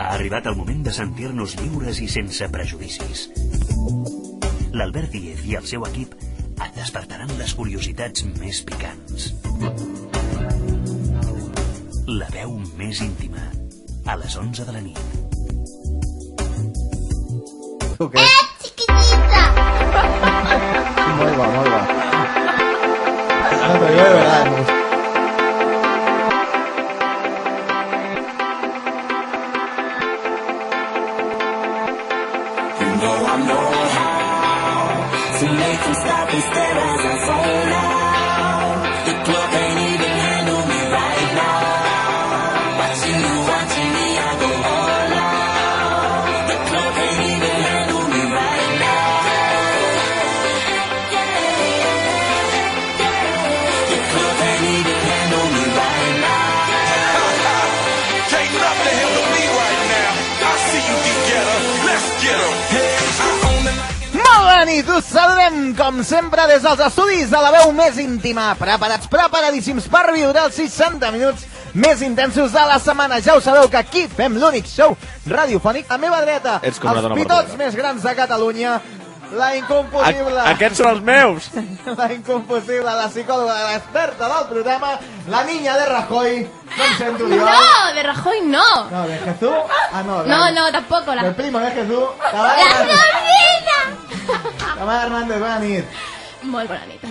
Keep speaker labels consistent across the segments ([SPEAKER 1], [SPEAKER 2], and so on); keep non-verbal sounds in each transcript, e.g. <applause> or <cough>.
[SPEAKER 1] Ha arribat el moment de sentir-nos lliures i sense prejudicis. L'Albert Díez i el seu equip et despertaran les curiositats més picants. La veu més íntima. A les 11 de la nit.
[SPEAKER 2] Okay. Muy va, muy va. No, pero yo de verdad. me gusta.
[SPEAKER 3] Can't nothing handle me right now. I see you get getter. Let's get 'em. I own the night.
[SPEAKER 2] Molt bona nit, us saludem com sempre des dels estudis de la veu més íntima. Preparats, preparadíssims per viure els 60 minuts més intensos de la setmana. Ja ho sabeu que aquí fem l'únic show radiofònic. A meva dreta,
[SPEAKER 4] Ets com una
[SPEAKER 2] els
[SPEAKER 4] dona
[SPEAKER 2] pitots
[SPEAKER 4] verdadera.
[SPEAKER 2] més grans de Catalunya, la
[SPEAKER 4] A
[SPEAKER 2] inconfusible,
[SPEAKER 4] aquests són els meus!
[SPEAKER 2] <laughs> la inconfusible, la psicòloga, l'experta del programa, la niña de Rajoy, no em sento jo.
[SPEAKER 5] No, de Rajoy no.
[SPEAKER 2] No, de Jesús. Ah, no. de-
[SPEAKER 5] No, no, tampoco.
[SPEAKER 2] Del
[SPEAKER 5] La,
[SPEAKER 2] primo de Jesús.
[SPEAKER 5] la
[SPEAKER 2] Tamara Hernández.
[SPEAKER 5] gordita.
[SPEAKER 2] Tamara Hernández, bona nit.
[SPEAKER 5] Muy bonita.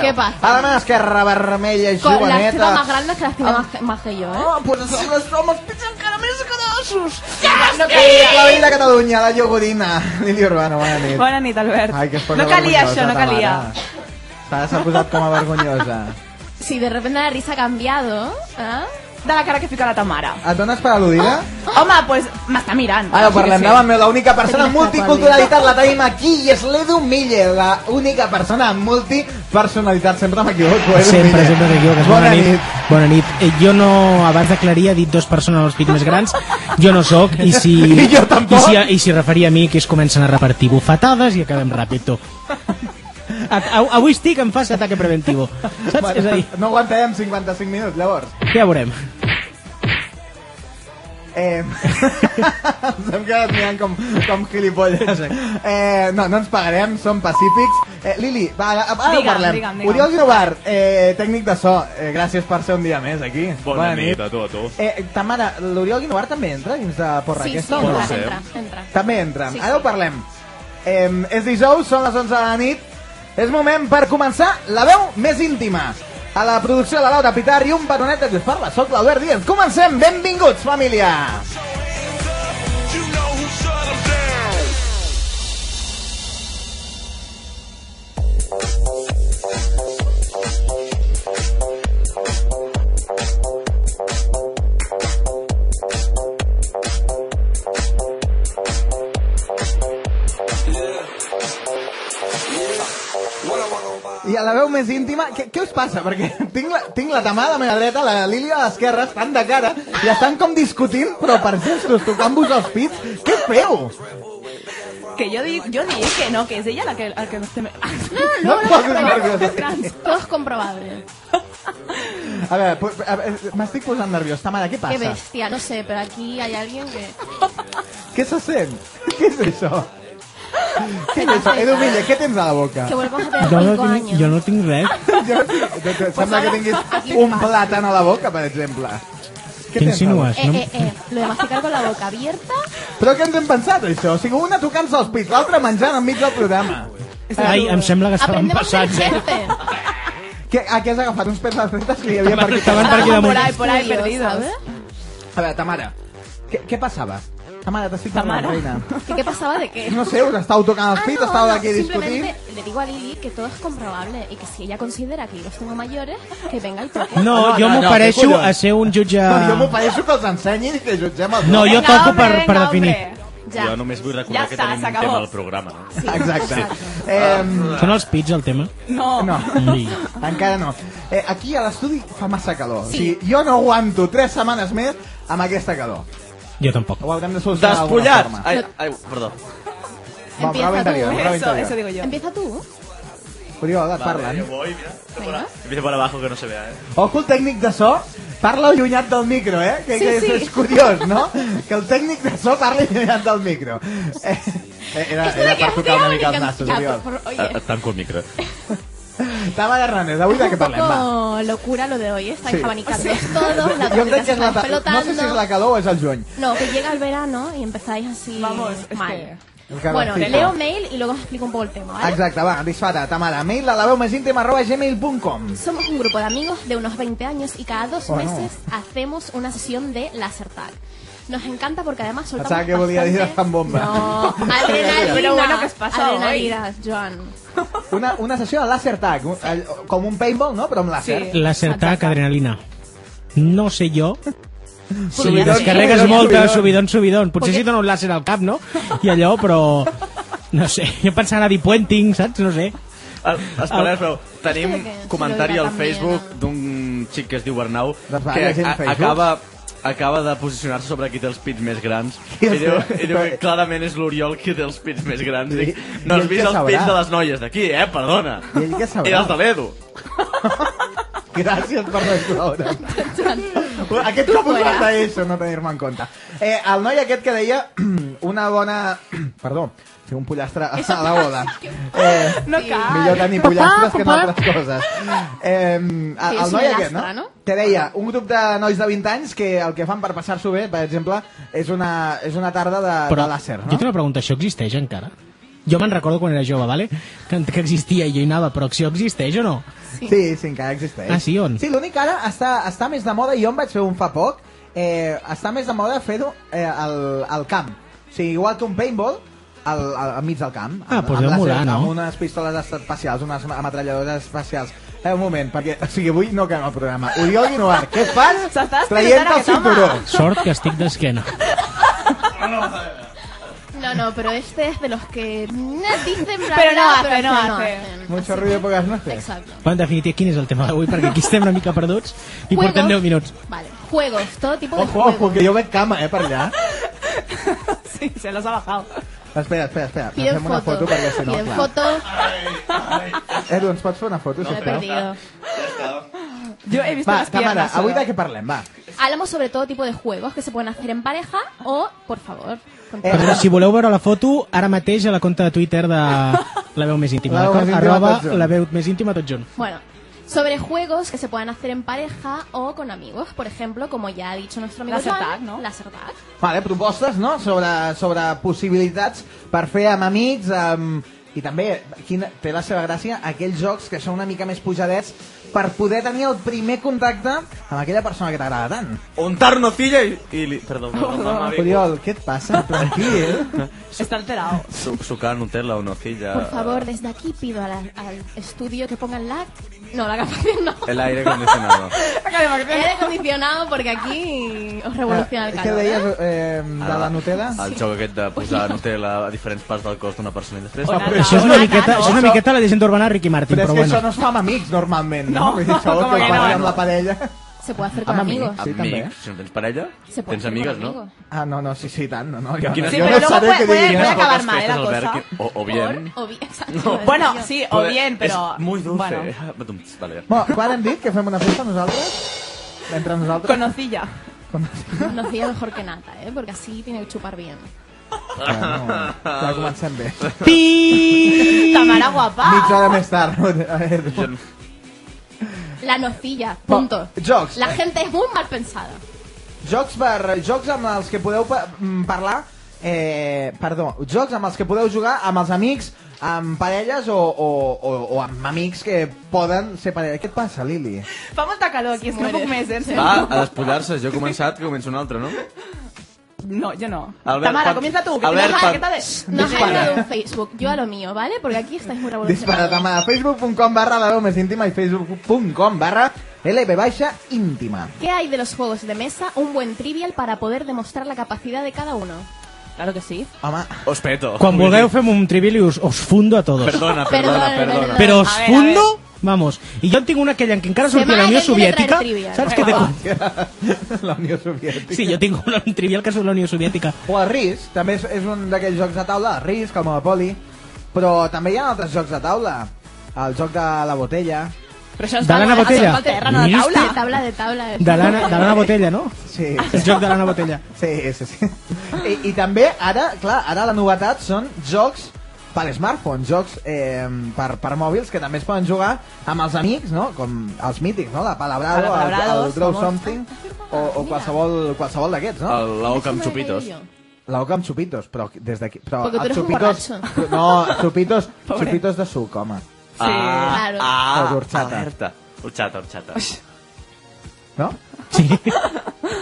[SPEAKER 5] ¿Qué pasa?
[SPEAKER 2] A la mà esquerra, vermella i
[SPEAKER 5] Con las
[SPEAKER 2] joveneta.
[SPEAKER 5] chicas más grandes que las
[SPEAKER 2] Ah.
[SPEAKER 5] tiene más, que- más que yo, ¿eh?
[SPEAKER 2] Oh, pues som les homes pitjor encara més grossos. No calia la vella de Catalunya, la iogurina. <laughs> Lili Urbano, bona nit.
[SPEAKER 6] Bona nit, Albert.
[SPEAKER 2] Ai, que es posa
[SPEAKER 6] no calia
[SPEAKER 2] vergonyosa,
[SPEAKER 6] això, no
[SPEAKER 2] ta
[SPEAKER 6] calia.
[SPEAKER 2] mare. S'ha- S'ha posat com a vergonyosa.
[SPEAKER 5] Si de repente la risa ha cambiado, ¿eh?
[SPEAKER 6] De la cara que fica la Tamara.
[SPEAKER 2] Et dones per al·ludida?
[SPEAKER 6] Home, pues m'està mirant.
[SPEAKER 2] Ara parlem de Mameu, l'única persona amb
[SPEAKER 5] Tenia cap
[SPEAKER 2] multiculturalitat la tenim aquí i és l'Edu Miller, la única persona amb multipersonalitat. Sempre m'equivoco, Edu
[SPEAKER 7] Sempre,
[SPEAKER 2] Miller.
[SPEAKER 7] sempre t'equivoques.
[SPEAKER 2] Bona,
[SPEAKER 7] Bona
[SPEAKER 2] nit.
[SPEAKER 7] nit. Bona nit. Eh, Jo no, abans d'aclarir, ha dit dos persones als pits més grans. Jo no sóc, i si...
[SPEAKER 2] <laughs> I jo tampoc.
[SPEAKER 7] I si, i si referia a mi, que es comencen a repartir bufetades i acabem ràpid, tu.
[SPEAKER 2] <laughs>
[SPEAKER 7] A, a, avui estic en fase d'ataque preventivo. Saps? És a dir,
[SPEAKER 2] No aguantarem 55 minuts, llavors.
[SPEAKER 7] ja veurem.
[SPEAKER 2] Eh,
[SPEAKER 7] <laughs>
[SPEAKER 2] ens hem quedat mirant com, com gilipolles. Eh, no, no ens pagarem, som pacífics. Eh, Lili, va, ara, ara ho
[SPEAKER 6] Digue'm,
[SPEAKER 2] parlem.
[SPEAKER 6] digue'm, digue'm.
[SPEAKER 2] Oriol Grobar, eh, tècnic de so, eh, gràcies per ser un dia més aquí.
[SPEAKER 4] Bona, nit. a tu, a tu.
[SPEAKER 2] Eh, ta mare, l'Oriol Guinovar també entra dins de Porra
[SPEAKER 5] Sí, sí,
[SPEAKER 2] aquesta? o
[SPEAKER 5] entra,
[SPEAKER 2] no?
[SPEAKER 4] sé.
[SPEAKER 5] entra, entra.
[SPEAKER 2] També entra.
[SPEAKER 5] Sí,
[SPEAKER 2] Ara
[SPEAKER 5] sí.
[SPEAKER 2] ho parlem. Eh, és dijous, són les 11 de la nit. És moment per començar la veu més íntima. A la producció de la Laura Pitar i un baronet que us parla. Soc l'Albert Díaz. Comencem. Benvinguts, família.
[SPEAKER 3] You know who shut 'em down.
[SPEAKER 2] I a la veu més íntima, què, què us passa? Perquè <laughs> tinc la, tinc la Tamara a la meva dreta, la Lília a l'esquerra, estan de cara i estan com discutint, però per gestos, tocant-vos els pits. Què feu?
[SPEAKER 6] Que jo dic, jo dic que no, que és ella la que, el que estem...
[SPEAKER 2] No, em posis nerviosa.
[SPEAKER 5] Trans, Todo es comprobable.
[SPEAKER 2] A veure, pu- a veure, m'estic posant nerviós. Tamara, què
[SPEAKER 5] Qué
[SPEAKER 2] passa?
[SPEAKER 5] bestia, no sé, pero aquí hay alguien que...
[SPEAKER 2] ¿Qué se hacen? <laughs> ¿Qué es eso? ¿Qué es eso? Edu Miller, ¿qué tens a la boca? <laughs>
[SPEAKER 5] Que volvamos a tener
[SPEAKER 7] Jo no
[SPEAKER 5] cinco
[SPEAKER 7] tinc, jo
[SPEAKER 5] años.
[SPEAKER 7] no tinc res.
[SPEAKER 2] Jo, te- te- sembla que tinguis un plàtan a la boca, per exemple.
[SPEAKER 7] Què
[SPEAKER 2] tens a la boca?
[SPEAKER 7] insinues?
[SPEAKER 5] Eh,
[SPEAKER 7] No?
[SPEAKER 5] eh, eh, lo de masticar con la boca abierta...
[SPEAKER 2] Però què ens hem pensat, això? O sigui, una tocant-se els pits, l'altra menjant enmig del programa.
[SPEAKER 7] Ai, em sembla que estaven
[SPEAKER 5] Aprendemos a ser
[SPEAKER 7] passats. eh?
[SPEAKER 5] gente.
[SPEAKER 2] Què, a què has agafat uns pets a les dretes que hi havia per aquí?
[SPEAKER 7] Estaven per
[SPEAKER 6] Estaven Ah,
[SPEAKER 7] aquí
[SPEAKER 6] por
[SPEAKER 7] damunt.
[SPEAKER 6] ahí, por ahí,
[SPEAKER 5] Dios,
[SPEAKER 6] perdidos.
[SPEAKER 5] ¿sabes?
[SPEAKER 2] A veure, Tamara, què, què passava? Tamara, t'estic parlant,
[SPEAKER 6] Tamara.
[SPEAKER 2] reina.
[SPEAKER 5] ¿Y qué pasaba de qué?
[SPEAKER 2] No sé, us estàveu tocant els
[SPEAKER 5] Ah,
[SPEAKER 2] pits,
[SPEAKER 5] no,
[SPEAKER 2] estàveu
[SPEAKER 5] no,
[SPEAKER 2] aquí discutint...
[SPEAKER 5] Simplemente le digo a Lili que todo es comprobable y que si ella considera que yo los tengo mayores, que venga y toque.
[SPEAKER 7] No,
[SPEAKER 2] <laughs> No,
[SPEAKER 7] jo
[SPEAKER 2] no, no,
[SPEAKER 7] m'ho pareixo
[SPEAKER 2] què collons?
[SPEAKER 7] a ser un jutge...
[SPEAKER 2] No, jo m'ho pareixo que els ensenyin i que jutgem els
[SPEAKER 7] No,
[SPEAKER 2] dos.
[SPEAKER 7] jo
[SPEAKER 6] Venga,
[SPEAKER 7] toco
[SPEAKER 6] hombre,
[SPEAKER 7] per, per
[SPEAKER 6] venga,
[SPEAKER 7] definir.
[SPEAKER 6] hombre.
[SPEAKER 5] Ya.
[SPEAKER 4] Jo només vull
[SPEAKER 6] Ja
[SPEAKER 4] recordar que
[SPEAKER 6] està,
[SPEAKER 4] tenim un
[SPEAKER 6] s'acabó.
[SPEAKER 4] tema al programa, no?
[SPEAKER 5] Sí,
[SPEAKER 2] Exacte.
[SPEAKER 5] exacto.
[SPEAKER 2] Eh,
[SPEAKER 7] Són els pits, el tema?
[SPEAKER 6] No.
[SPEAKER 2] No,
[SPEAKER 7] Sí.
[SPEAKER 2] encara no. Eh, aquí a l'estudi fa massa calor.
[SPEAKER 5] Sí.
[SPEAKER 2] O sigui, jo no aguanto tres setmanes més amb aquesta calor.
[SPEAKER 7] Jo tampoc.
[SPEAKER 2] Ho haurem de solucionar d'alguna
[SPEAKER 4] Despullat!
[SPEAKER 2] forma.
[SPEAKER 4] Ai, ai, perdó.
[SPEAKER 2] Va,
[SPEAKER 5] Empieza
[SPEAKER 2] prova
[SPEAKER 5] tú.
[SPEAKER 2] interior, prova
[SPEAKER 6] Eso, eso
[SPEAKER 2] interior.
[SPEAKER 6] digo yo.
[SPEAKER 5] Empieza tú.
[SPEAKER 2] Oriol,
[SPEAKER 8] Vale,
[SPEAKER 2] parla'n.
[SPEAKER 8] yo voy, mira.
[SPEAKER 5] Venga.
[SPEAKER 8] Empiezo por abajo que no se vea, eh.
[SPEAKER 2] Ojo, el tècnic de so parla allunyat del micro, eh? Que,
[SPEAKER 5] Sí,
[SPEAKER 2] que és,
[SPEAKER 5] sí.
[SPEAKER 2] és curiós, no? Que el tècnic de so parli allunyat del micro. Eh, eh, era,
[SPEAKER 5] Esto de
[SPEAKER 2] era
[SPEAKER 5] que
[SPEAKER 2] per tocar
[SPEAKER 5] hacía
[SPEAKER 2] una mica els
[SPEAKER 5] una
[SPEAKER 2] nassos,
[SPEAKER 5] can-
[SPEAKER 2] Oriol.
[SPEAKER 5] Ah, por-
[SPEAKER 4] Eh,
[SPEAKER 5] Oye,
[SPEAKER 4] Tanco el micro.
[SPEAKER 2] Tava Hernández, avui de
[SPEAKER 5] un
[SPEAKER 2] què parlem, va?
[SPEAKER 5] poco locura lo de hoy, está
[SPEAKER 2] Sí.
[SPEAKER 5] abanicando
[SPEAKER 2] <laughs>
[SPEAKER 5] todos, la
[SPEAKER 2] Jo crec
[SPEAKER 5] tormenta
[SPEAKER 2] que
[SPEAKER 5] se
[SPEAKER 2] és la...
[SPEAKER 5] está
[SPEAKER 2] ta- No sé si és
[SPEAKER 5] pelotando.
[SPEAKER 2] la calor o és el juny.
[SPEAKER 5] No, que llega el verano y empezáis así
[SPEAKER 6] Vamos, es
[SPEAKER 5] mal.
[SPEAKER 2] que- El calor
[SPEAKER 5] Bueno,
[SPEAKER 2] pica.
[SPEAKER 5] leo mail y luego os explico un poco el tema, ¿vale?
[SPEAKER 2] Exacte, va, dispara, ta mare. Mail a la veu més íntima arroba gmail.com
[SPEAKER 5] Somos un grupo de amigos de unos 20 años y cada dos
[SPEAKER 2] Bueno.
[SPEAKER 5] meses hacemos una sesión de laser tag. Nos encanta porque además soltamos
[SPEAKER 2] Pensaba que podía
[SPEAKER 5] bastante-
[SPEAKER 2] ir a Zambomba.
[SPEAKER 5] No,
[SPEAKER 2] <laughs>
[SPEAKER 5] adrenalina.
[SPEAKER 6] Pero bueno, ¿qué os pasa hoy?
[SPEAKER 5] Adrenalina, Joan.
[SPEAKER 2] Una, una sessió de láser tag, un- el- com un paintball, no? Però amb láser.
[SPEAKER 6] Sí.
[SPEAKER 7] L'acertar que adrenalina. No sé jo si
[SPEAKER 2] Subidón,
[SPEAKER 7] descarregues
[SPEAKER 2] subidón,
[SPEAKER 7] molta,
[SPEAKER 2] subidón.
[SPEAKER 7] subidon, subidon. Potser si dona un làser al cap, no? I allò, però... No sé, jo pensava anar a dir puenting, saps? No sé.
[SPEAKER 8] El, espera, però Ah, tenim
[SPEAKER 5] Hòstia, que si
[SPEAKER 8] comentari
[SPEAKER 5] no
[SPEAKER 8] al
[SPEAKER 5] hi va tan
[SPEAKER 8] Facebook
[SPEAKER 5] bé,
[SPEAKER 8] d'un xic que es diu Bernau
[SPEAKER 2] Doncs va, hi ha
[SPEAKER 8] que
[SPEAKER 2] gent a
[SPEAKER 8] a-
[SPEAKER 2] Facebook.
[SPEAKER 8] acaba acaba de posicionar-se sobre qui té els pits més grans
[SPEAKER 2] I
[SPEAKER 8] i
[SPEAKER 2] els-
[SPEAKER 8] diu, i diu que clarament és l'Oriol qui té els pits més grans
[SPEAKER 2] I-
[SPEAKER 8] Dic,
[SPEAKER 2] i
[SPEAKER 8] no has
[SPEAKER 2] ell
[SPEAKER 8] vist
[SPEAKER 2] què
[SPEAKER 8] els
[SPEAKER 2] sabrà?
[SPEAKER 8] pits de les noies d'aquí, eh? Perdona
[SPEAKER 2] I ell què sabrà?
[SPEAKER 8] I els de l'Edu
[SPEAKER 2] Gràcies per l'esclaure. Aquest ho posat a això, no tenir-me en compte. Eh, el noi aquest que deia <clears throat> una bona... <clears throat> Perdó, fer un pollastre a la boda. Eh,
[SPEAKER 6] No cal.
[SPEAKER 2] millor tenir pollastres que no altres coses. Eh, el,
[SPEAKER 5] és
[SPEAKER 2] el noi
[SPEAKER 5] un
[SPEAKER 2] aquest,
[SPEAKER 5] lastre,
[SPEAKER 2] no?
[SPEAKER 5] no?
[SPEAKER 2] Te deia, un grup de nois de 20 anys que el que fan per passar-s'ho bé, per exemple, és una, és una tarda de, de làser,
[SPEAKER 7] Jo
[SPEAKER 2] no?
[SPEAKER 7] tinc una pregunta, això existeix encara? Jo me'n recordo quan era jove, vale? que, que existia i jo hi anava, però això existeix o no?
[SPEAKER 2] Sí, sí, encara existeix.
[SPEAKER 7] Ah, sí, on?
[SPEAKER 2] Sí, l'únic que ara està, està més de moda, i jo en vaig fer un fa poc, eh, està més de moda fer-ho eh, al, al camp. O sigui, igual que un paintball, al, al, al mig del camp.
[SPEAKER 7] Ah,
[SPEAKER 2] Amb-
[SPEAKER 7] doncs
[SPEAKER 2] amb
[SPEAKER 7] deu
[SPEAKER 2] les-
[SPEAKER 7] molar, no?
[SPEAKER 2] Amb unes pistoles espacials, unes ametralladores espacials. Eh, un moment, perquè, o sigui, avui no caiem al programa. Oriol Guinovar, què fas?
[SPEAKER 6] S'està
[SPEAKER 2] Traient el
[SPEAKER 6] despertant aquest
[SPEAKER 2] cinturó.
[SPEAKER 7] Sort que estic d'esquena.
[SPEAKER 5] No, no, pero este es de los que dicen bla,
[SPEAKER 6] Pero
[SPEAKER 5] bla,
[SPEAKER 6] no
[SPEAKER 5] pero
[SPEAKER 6] hace, no
[SPEAKER 5] este no
[SPEAKER 6] hace.
[SPEAKER 5] hacen.
[SPEAKER 2] Mucho ruido, pocas noches.
[SPEAKER 5] Exacto.
[SPEAKER 7] Però, en definitiva, quin és el tema d'avui? Perquè aquí estem una mica perduts i
[SPEAKER 5] Juegos.
[SPEAKER 7] portem 10 minuts.
[SPEAKER 5] Vale, juegos, todo tipo de
[SPEAKER 2] Ojo,
[SPEAKER 5] juegos.
[SPEAKER 2] ojo, que jo veig cama, eh, per allà.
[SPEAKER 6] Sí, se los ha bajado.
[SPEAKER 2] Espera, espera, espera. Nos
[SPEAKER 5] Piden
[SPEAKER 2] fem una
[SPEAKER 5] foto,
[SPEAKER 2] foto perquè si no,
[SPEAKER 5] piden
[SPEAKER 2] clar.
[SPEAKER 5] foto,
[SPEAKER 2] Edu, ens pots fer una foto,
[SPEAKER 5] lo he
[SPEAKER 2] sisplau?
[SPEAKER 5] perdido.
[SPEAKER 6] Yo he visto
[SPEAKER 2] Va,
[SPEAKER 6] las
[SPEAKER 2] Tamara,
[SPEAKER 6] piernas. eh?
[SPEAKER 2] avui
[SPEAKER 6] solo.
[SPEAKER 2] de què parlem, va.
[SPEAKER 5] Hablamos sobre todo tipo de juegos que se pueden hacer en pareja o, por favor, con
[SPEAKER 2] Eh,
[SPEAKER 7] Perdó, si voleu veure la foto, ara mateix a la compte de Twitter de la veu més íntima.
[SPEAKER 2] La Veu
[SPEAKER 7] d'acord?
[SPEAKER 2] Més Íntima,
[SPEAKER 7] Arroba
[SPEAKER 2] tot junt.
[SPEAKER 7] la veu més íntima tot junt.
[SPEAKER 5] Bueno, sobre juegos que se pueden hacer en pareja o con amigos, por ejemplo, como ya ha dicho nuestro amigo
[SPEAKER 6] Laser
[SPEAKER 5] Joan,
[SPEAKER 6] tag, ¿no?
[SPEAKER 5] laser tag.
[SPEAKER 2] Vale, propostes, no?, sobre, sobre possibilitats per fer amb amics, amb... i també quina, té la seva gràcia aquells jocs que són una mica més pujadets per poder tenir el primer contacte amb aquella persona que t'agrada tant.
[SPEAKER 8] untar nocilla i, i li... perdó, no, no, no,
[SPEAKER 2] Oriol, què et
[SPEAKER 6] <laughs>
[SPEAKER 2] passa? Tranquil.
[SPEAKER 6] eh, Está
[SPEAKER 2] <laughs>
[SPEAKER 6] alterado.
[SPEAKER 8] Su, sucar Nutella o nocilla
[SPEAKER 5] Por favor, desde aquí pido a la- al estudio que pongan la... No, la calefacción no.
[SPEAKER 8] el aire
[SPEAKER 5] <laughs>
[SPEAKER 8] acondicionado
[SPEAKER 5] Aire acondicionado porque aquí os
[SPEAKER 8] Ah,
[SPEAKER 5] revoluciona el
[SPEAKER 2] Què
[SPEAKER 5] calor.
[SPEAKER 2] deies
[SPEAKER 5] ¿eh?
[SPEAKER 2] eh, de la Nutella?
[SPEAKER 8] el joc aquest de posar Nutella a diferents parts del cos d'una persona i després
[SPEAKER 6] O nata.
[SPEAKER 7] Això és una
[SPEAKER 6] Hola,
[SPEAKER 7] miqueta,
[SPEAKER 6] Nano.
[SPEAKER 7] és una miqueta la llegenda urbana de Ricky Martin,
[SPEAKER 2] Però és
[SPEAKER 7] però
[SPEAKER 2] que això
[SPEAKER 7] bueno.
[SPEAKER 2] no es fa amb amics, normalment, no?
[SPEAKER 6] No,
[SPEAKER 2] Vull dir, això
[SPEAKER 6] com
[SPEAKER 2] que
[SPEAKER 6] que
[SPEAKER 2] ho fas
[SPEAKER 6] no?
[SPEAKER 2] amb la parella.
[SPEAKER 5] Se puede hacer con
[SPEAKER 2] Ah,
[SPEAKER 5] amigos.
[SPEAKER 2] Sí,
[SPEAKER 8] amics,
[SPEAKER 2] també.
[SPEAKER 8] si no tens parella
[SPEAKER 5] Se puede
[SPEAKER 8] tens
[SPEAKER 5] hacer
[SPEAKER 8] amigues,
[SPEAKER 5] con
[SPEAKER 8] no?
[SPEAKER 5] amigos.
[SPEAKER 2] Ah, no, no, sí, sí, tant. No, no, jo,
[SPEAKER 8] Quines-
[SPEAKER 2] jo
[SPEAKER 6] Sí, pero
[SPEAKER 2] no
[SPEAKER 6] luego
[SPEAKER 2] sabré
[SPEAKER 6] puede-
[SPEAKER 2] què
[SPEAKER 6] puede-
[SPEAKER 2] diria.
[SPEAKER 6] puede
[SPEAKER 8] Unas
[SPEAKER 6] acabar
[SPEAKER 8] pocas
[SPEAKER 6] mal, ¿eh? la
[SPEAKER 8] fiestas,
[SPEAKER 6] cosa.
[SPEAKER 8] Albert, que- o, o bien.
[SPEAKER 5] O bien, <laughs> exacto.
[SPEAKER 6] Bueno, sí, o
[SPEAKER 8] Puede-
[SPEAKER 6] bien, pero.
[SPEAKER 8] Es muy dulce. eh? Ah,
[SPEAKER 6] Bueno,
[SPEAKER 8] doncs, Vale.
[SPEAKER 2] Bueno, quan hem dit que fem una festa nosaltres? Entre nosaltres?
[SPEAKER 6] con nocilla.
[SPEAKER 5] Nos diga mejor que nata, ¿eh? Porque así tiene que chupar bien.
[SPEAKER 2] Bueno, ja comencem bé.
[SPEAKER 7] Pi!
[SPEAKER 6] Tamara
[SPEAKER 7] Ah.
[SPEAKER 6] guapa.
[SPEAKER 2] Mitja hora més tard. A veure.
[SPEAKER 5] La nocilla, punto.
[SPEAKER 2] Bueno, Jocs.
[SPEAKER 5] La gente es muy mal pensada.
[SPEAKER 2] Jocs, per, jocs amb els que podeu pa mm, parlar... Eh, perdó, jocs amb els que podeu jugar amb els amics, amb parelles o, o, o, o amb amics que poden ser parelles. Què et passa, Lili?
[SPEAKER 6] Fa molta calor aquí, es que no puc més, eh? en
[SPEAKER 8] Va,
[SPEAKER 6] serio.
[SPEAKER 8] a despullar-se. Jo he començat, que comença un altre, no?
[SPEAKER 6] No, yo no.
[SPEAKER 8] Albert,
[SPEAKER 6] Tamara,
[SPEAKER 8] Pat-
[SPEAKER 6] comienza tú. Que
[SPEAKER 8] Albert,
[SPEAKER 6] tienes-
[SPEAKER 8] Pat-
[SPEAKER 6] ¿Qué tal es?
[SPEAKER 5] Nos ha
[SPEAKER 2] Dispara.
[SPEAKER 5] enviado un Facebook. Yo a lo mío, ¿vale? Porque aquí estáis muy revolucionados.
[SPEAKER 2] Dispara't a mà. Facebook.com barra la veu més íntima i Facebook.com barra LB baixa íntima.
[SPEAKER 5] ¿Qué hay de los juegos de mesa? Un buen trivial para poder demostrar la capacidad de cada uno.
[SPEAKER 6] Claro que sí.
[SPEAKER 2] Home,
[SPEAKER 8] Os peto.
[SPEAKER 7] Quan vulgueu fem un trivial i us, us fundo a todos.
[SPEAKER 8] Perdona,
[SPEAKER 5] Perdona,
[SPEAKER 8] perdona,
[SPEAKER 5] perdona.
[SPEAKER 8] perdona.
[SPEAKER 7] Però us
[SPEAKER 6] A ver, a
[SPEAKER 7] fundo... Vamos. I jo en tinc una aquella en què encara sortia la
[SPEAKER 5] Demà
[SPEAKER 7] Unió
[SPEAKER 5] que viene a traer
[SPEAKER 7] Soviètica.
[SPEAKER 5] trivial.
[SPEAKER 7] Saps què te...
[SPEAKER 2] <laughs> la Unió Soviètica.
[SPEAKER 7] Sí, jo tinc una, un trivial que surt la Unió Soviètica.
[SPEAKER 2] O el risc, també és, és un d'aquells jocs de taula, el risc, el Monopoly, però també hi ha altres jocs de taula. el joc de la botella.
[SPEAKER 6] Però això es
[SPEAKER 7] De
[SPEAKER 6] fa,
[SPEAKER 7] l'Anna
[SPEAKER 6] això es
[SPEAKER 7] Botella.
[SPEAKER 6] fa al terra, no a la
[SPEAKER 5] De
[SPEAKER 6] taula.
[SPEAKER 5] tabla, de tabla.
[SPEAKER 7] De l'Anna de l'Anna Botella, no?
[SPEAKER 6] <laughs>
[SPEAKER 2] Sí,
[SPEAKER 7] El joc de l'Anna Botella.
[SPEAKER 2] sí, sí. sí. I, I també, ara, clar, ara la novetat són jocs per smartphone, jocs eh, per, per mòbils que també es poden jugar amb els amics, no? Com els mítics, no? La Palabrado, el, el
[SPEAKER 6] Palabrados,
[SPEAKER 2] Draw
[SPEAKER 6] famosos.
[SPEAKER 2] Something o, o qualsevol, qualsevol d'aquests, no?
[SPEAKER 8] El, la oca amb xupitos.
[SPEAKER 2] La boca amb xupitos, però des d'aquí... Però
[SPEAKER 5] Perquè tu
[SPEAKER 2] els
[SPEAKER 5] eres un
[SPEAKER 2] xupitos,
[SPEAKER 5] borratxo.
[SPEAKER 2] No,
[SPEAKER 6] <laughs>
[SPEAKER 2] xupitos, xupitos de suc, home.
[SPEAKER 8] Sí. Ah,
[SPEAKER 5] Claro.
[SPEAKER 8] ah,
[SPEAKER 2] O d'orxata.
[SPEAKER 8] alerta. Horxata, horxata.
[SPEAKER 2] No? Sí.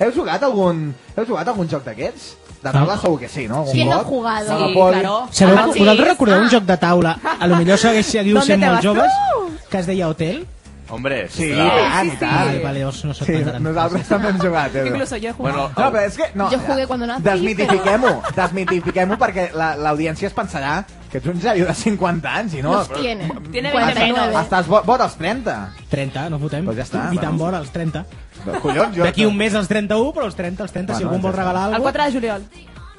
[SPEAKER 2] Heu jugat algun, heu jugat algun joc d'aquests? De taula segur que sí, no? Algun
[SPEAKER 5] ¿Quién no ha
[SPEAKER 2] bot,
[SPEAKER 5] jugado? Sí,
[SPEAKER 2] Monopoly.
[SPEAKER 6] claro.
[SPEAKER 7] Sabeu,
[SPEAKER 6] Ah, sí.
[SPEAKER 7] vosaltres recordeu un
[SPEAKER 5] Ah.
[SPEAKER 7] joc de taula, a lo millor segueix, seguiu
[SPEAKER 6] ¿Dónde
[SPEAKER 7] sent
[SPEAKER 6] te
[SPEAKER 7] molt
[SPEAKER 6] vas
[SPEAKER 7] joves,
[SPEAKER 6] tú?
[SPEAKER 7] que es deia Hotel?
[SPEAKER 8] Hombre,
[SPEAKER 2] Sí,
[SPEAKER 8] claro.
[SPEAKER 2] i tant, i tant.
[SPEAKER 7] Vale, vale, os no sóc
[SPEAKER 2] Sí,
[SPEAKER 7] tan gran.
[SPEAKER 2] nosaltres també hem jugat, Edu.
[SPEAKER 6] Incluso yo he jugado.
[SPEAKER 8] Bueno,
[SPEAKER 2] No, però és que... No,
[SPEAKER 5] Jo jugué quan nací,
[SPEAKER 2] Desmitifiquem-ho,
[SPEAKER 5] <laughs>
[SPEAKER 2] desmitifiquem-ho perquè la- l'audiència es pensarà que ets un jaio de 50 anys i no...
[SPEAKER 5] Los tiene.
[SPEAKER 6] Tiene
[SPEAKER 5] 49.
[SPEAKER 6] 29.
[SPEAKER 2] Estàs bo, vora els 30.
[SPEAKER 7] 30, no fotem.
[SPEAKER 2] Pues ja està,
[SPEAKER 7] I
[SPEAKER 2] bueno.
[SPEAKER 7] tan bona, els 30.
[SPEAKER 2] Collons, jo...
[SPEAKER 7] D'aquí un mes als 31, però als 30, als 30, si
[SPEAKER 2] Bueno,
[SPEAKER 7] algun vol
[SPEAKER 2] ja està.
[SPEAKER 7] regalar
[SPEAKER 6] El
[SPEAKER 7] alguna
[SPEAKER 6] 4 de juliol.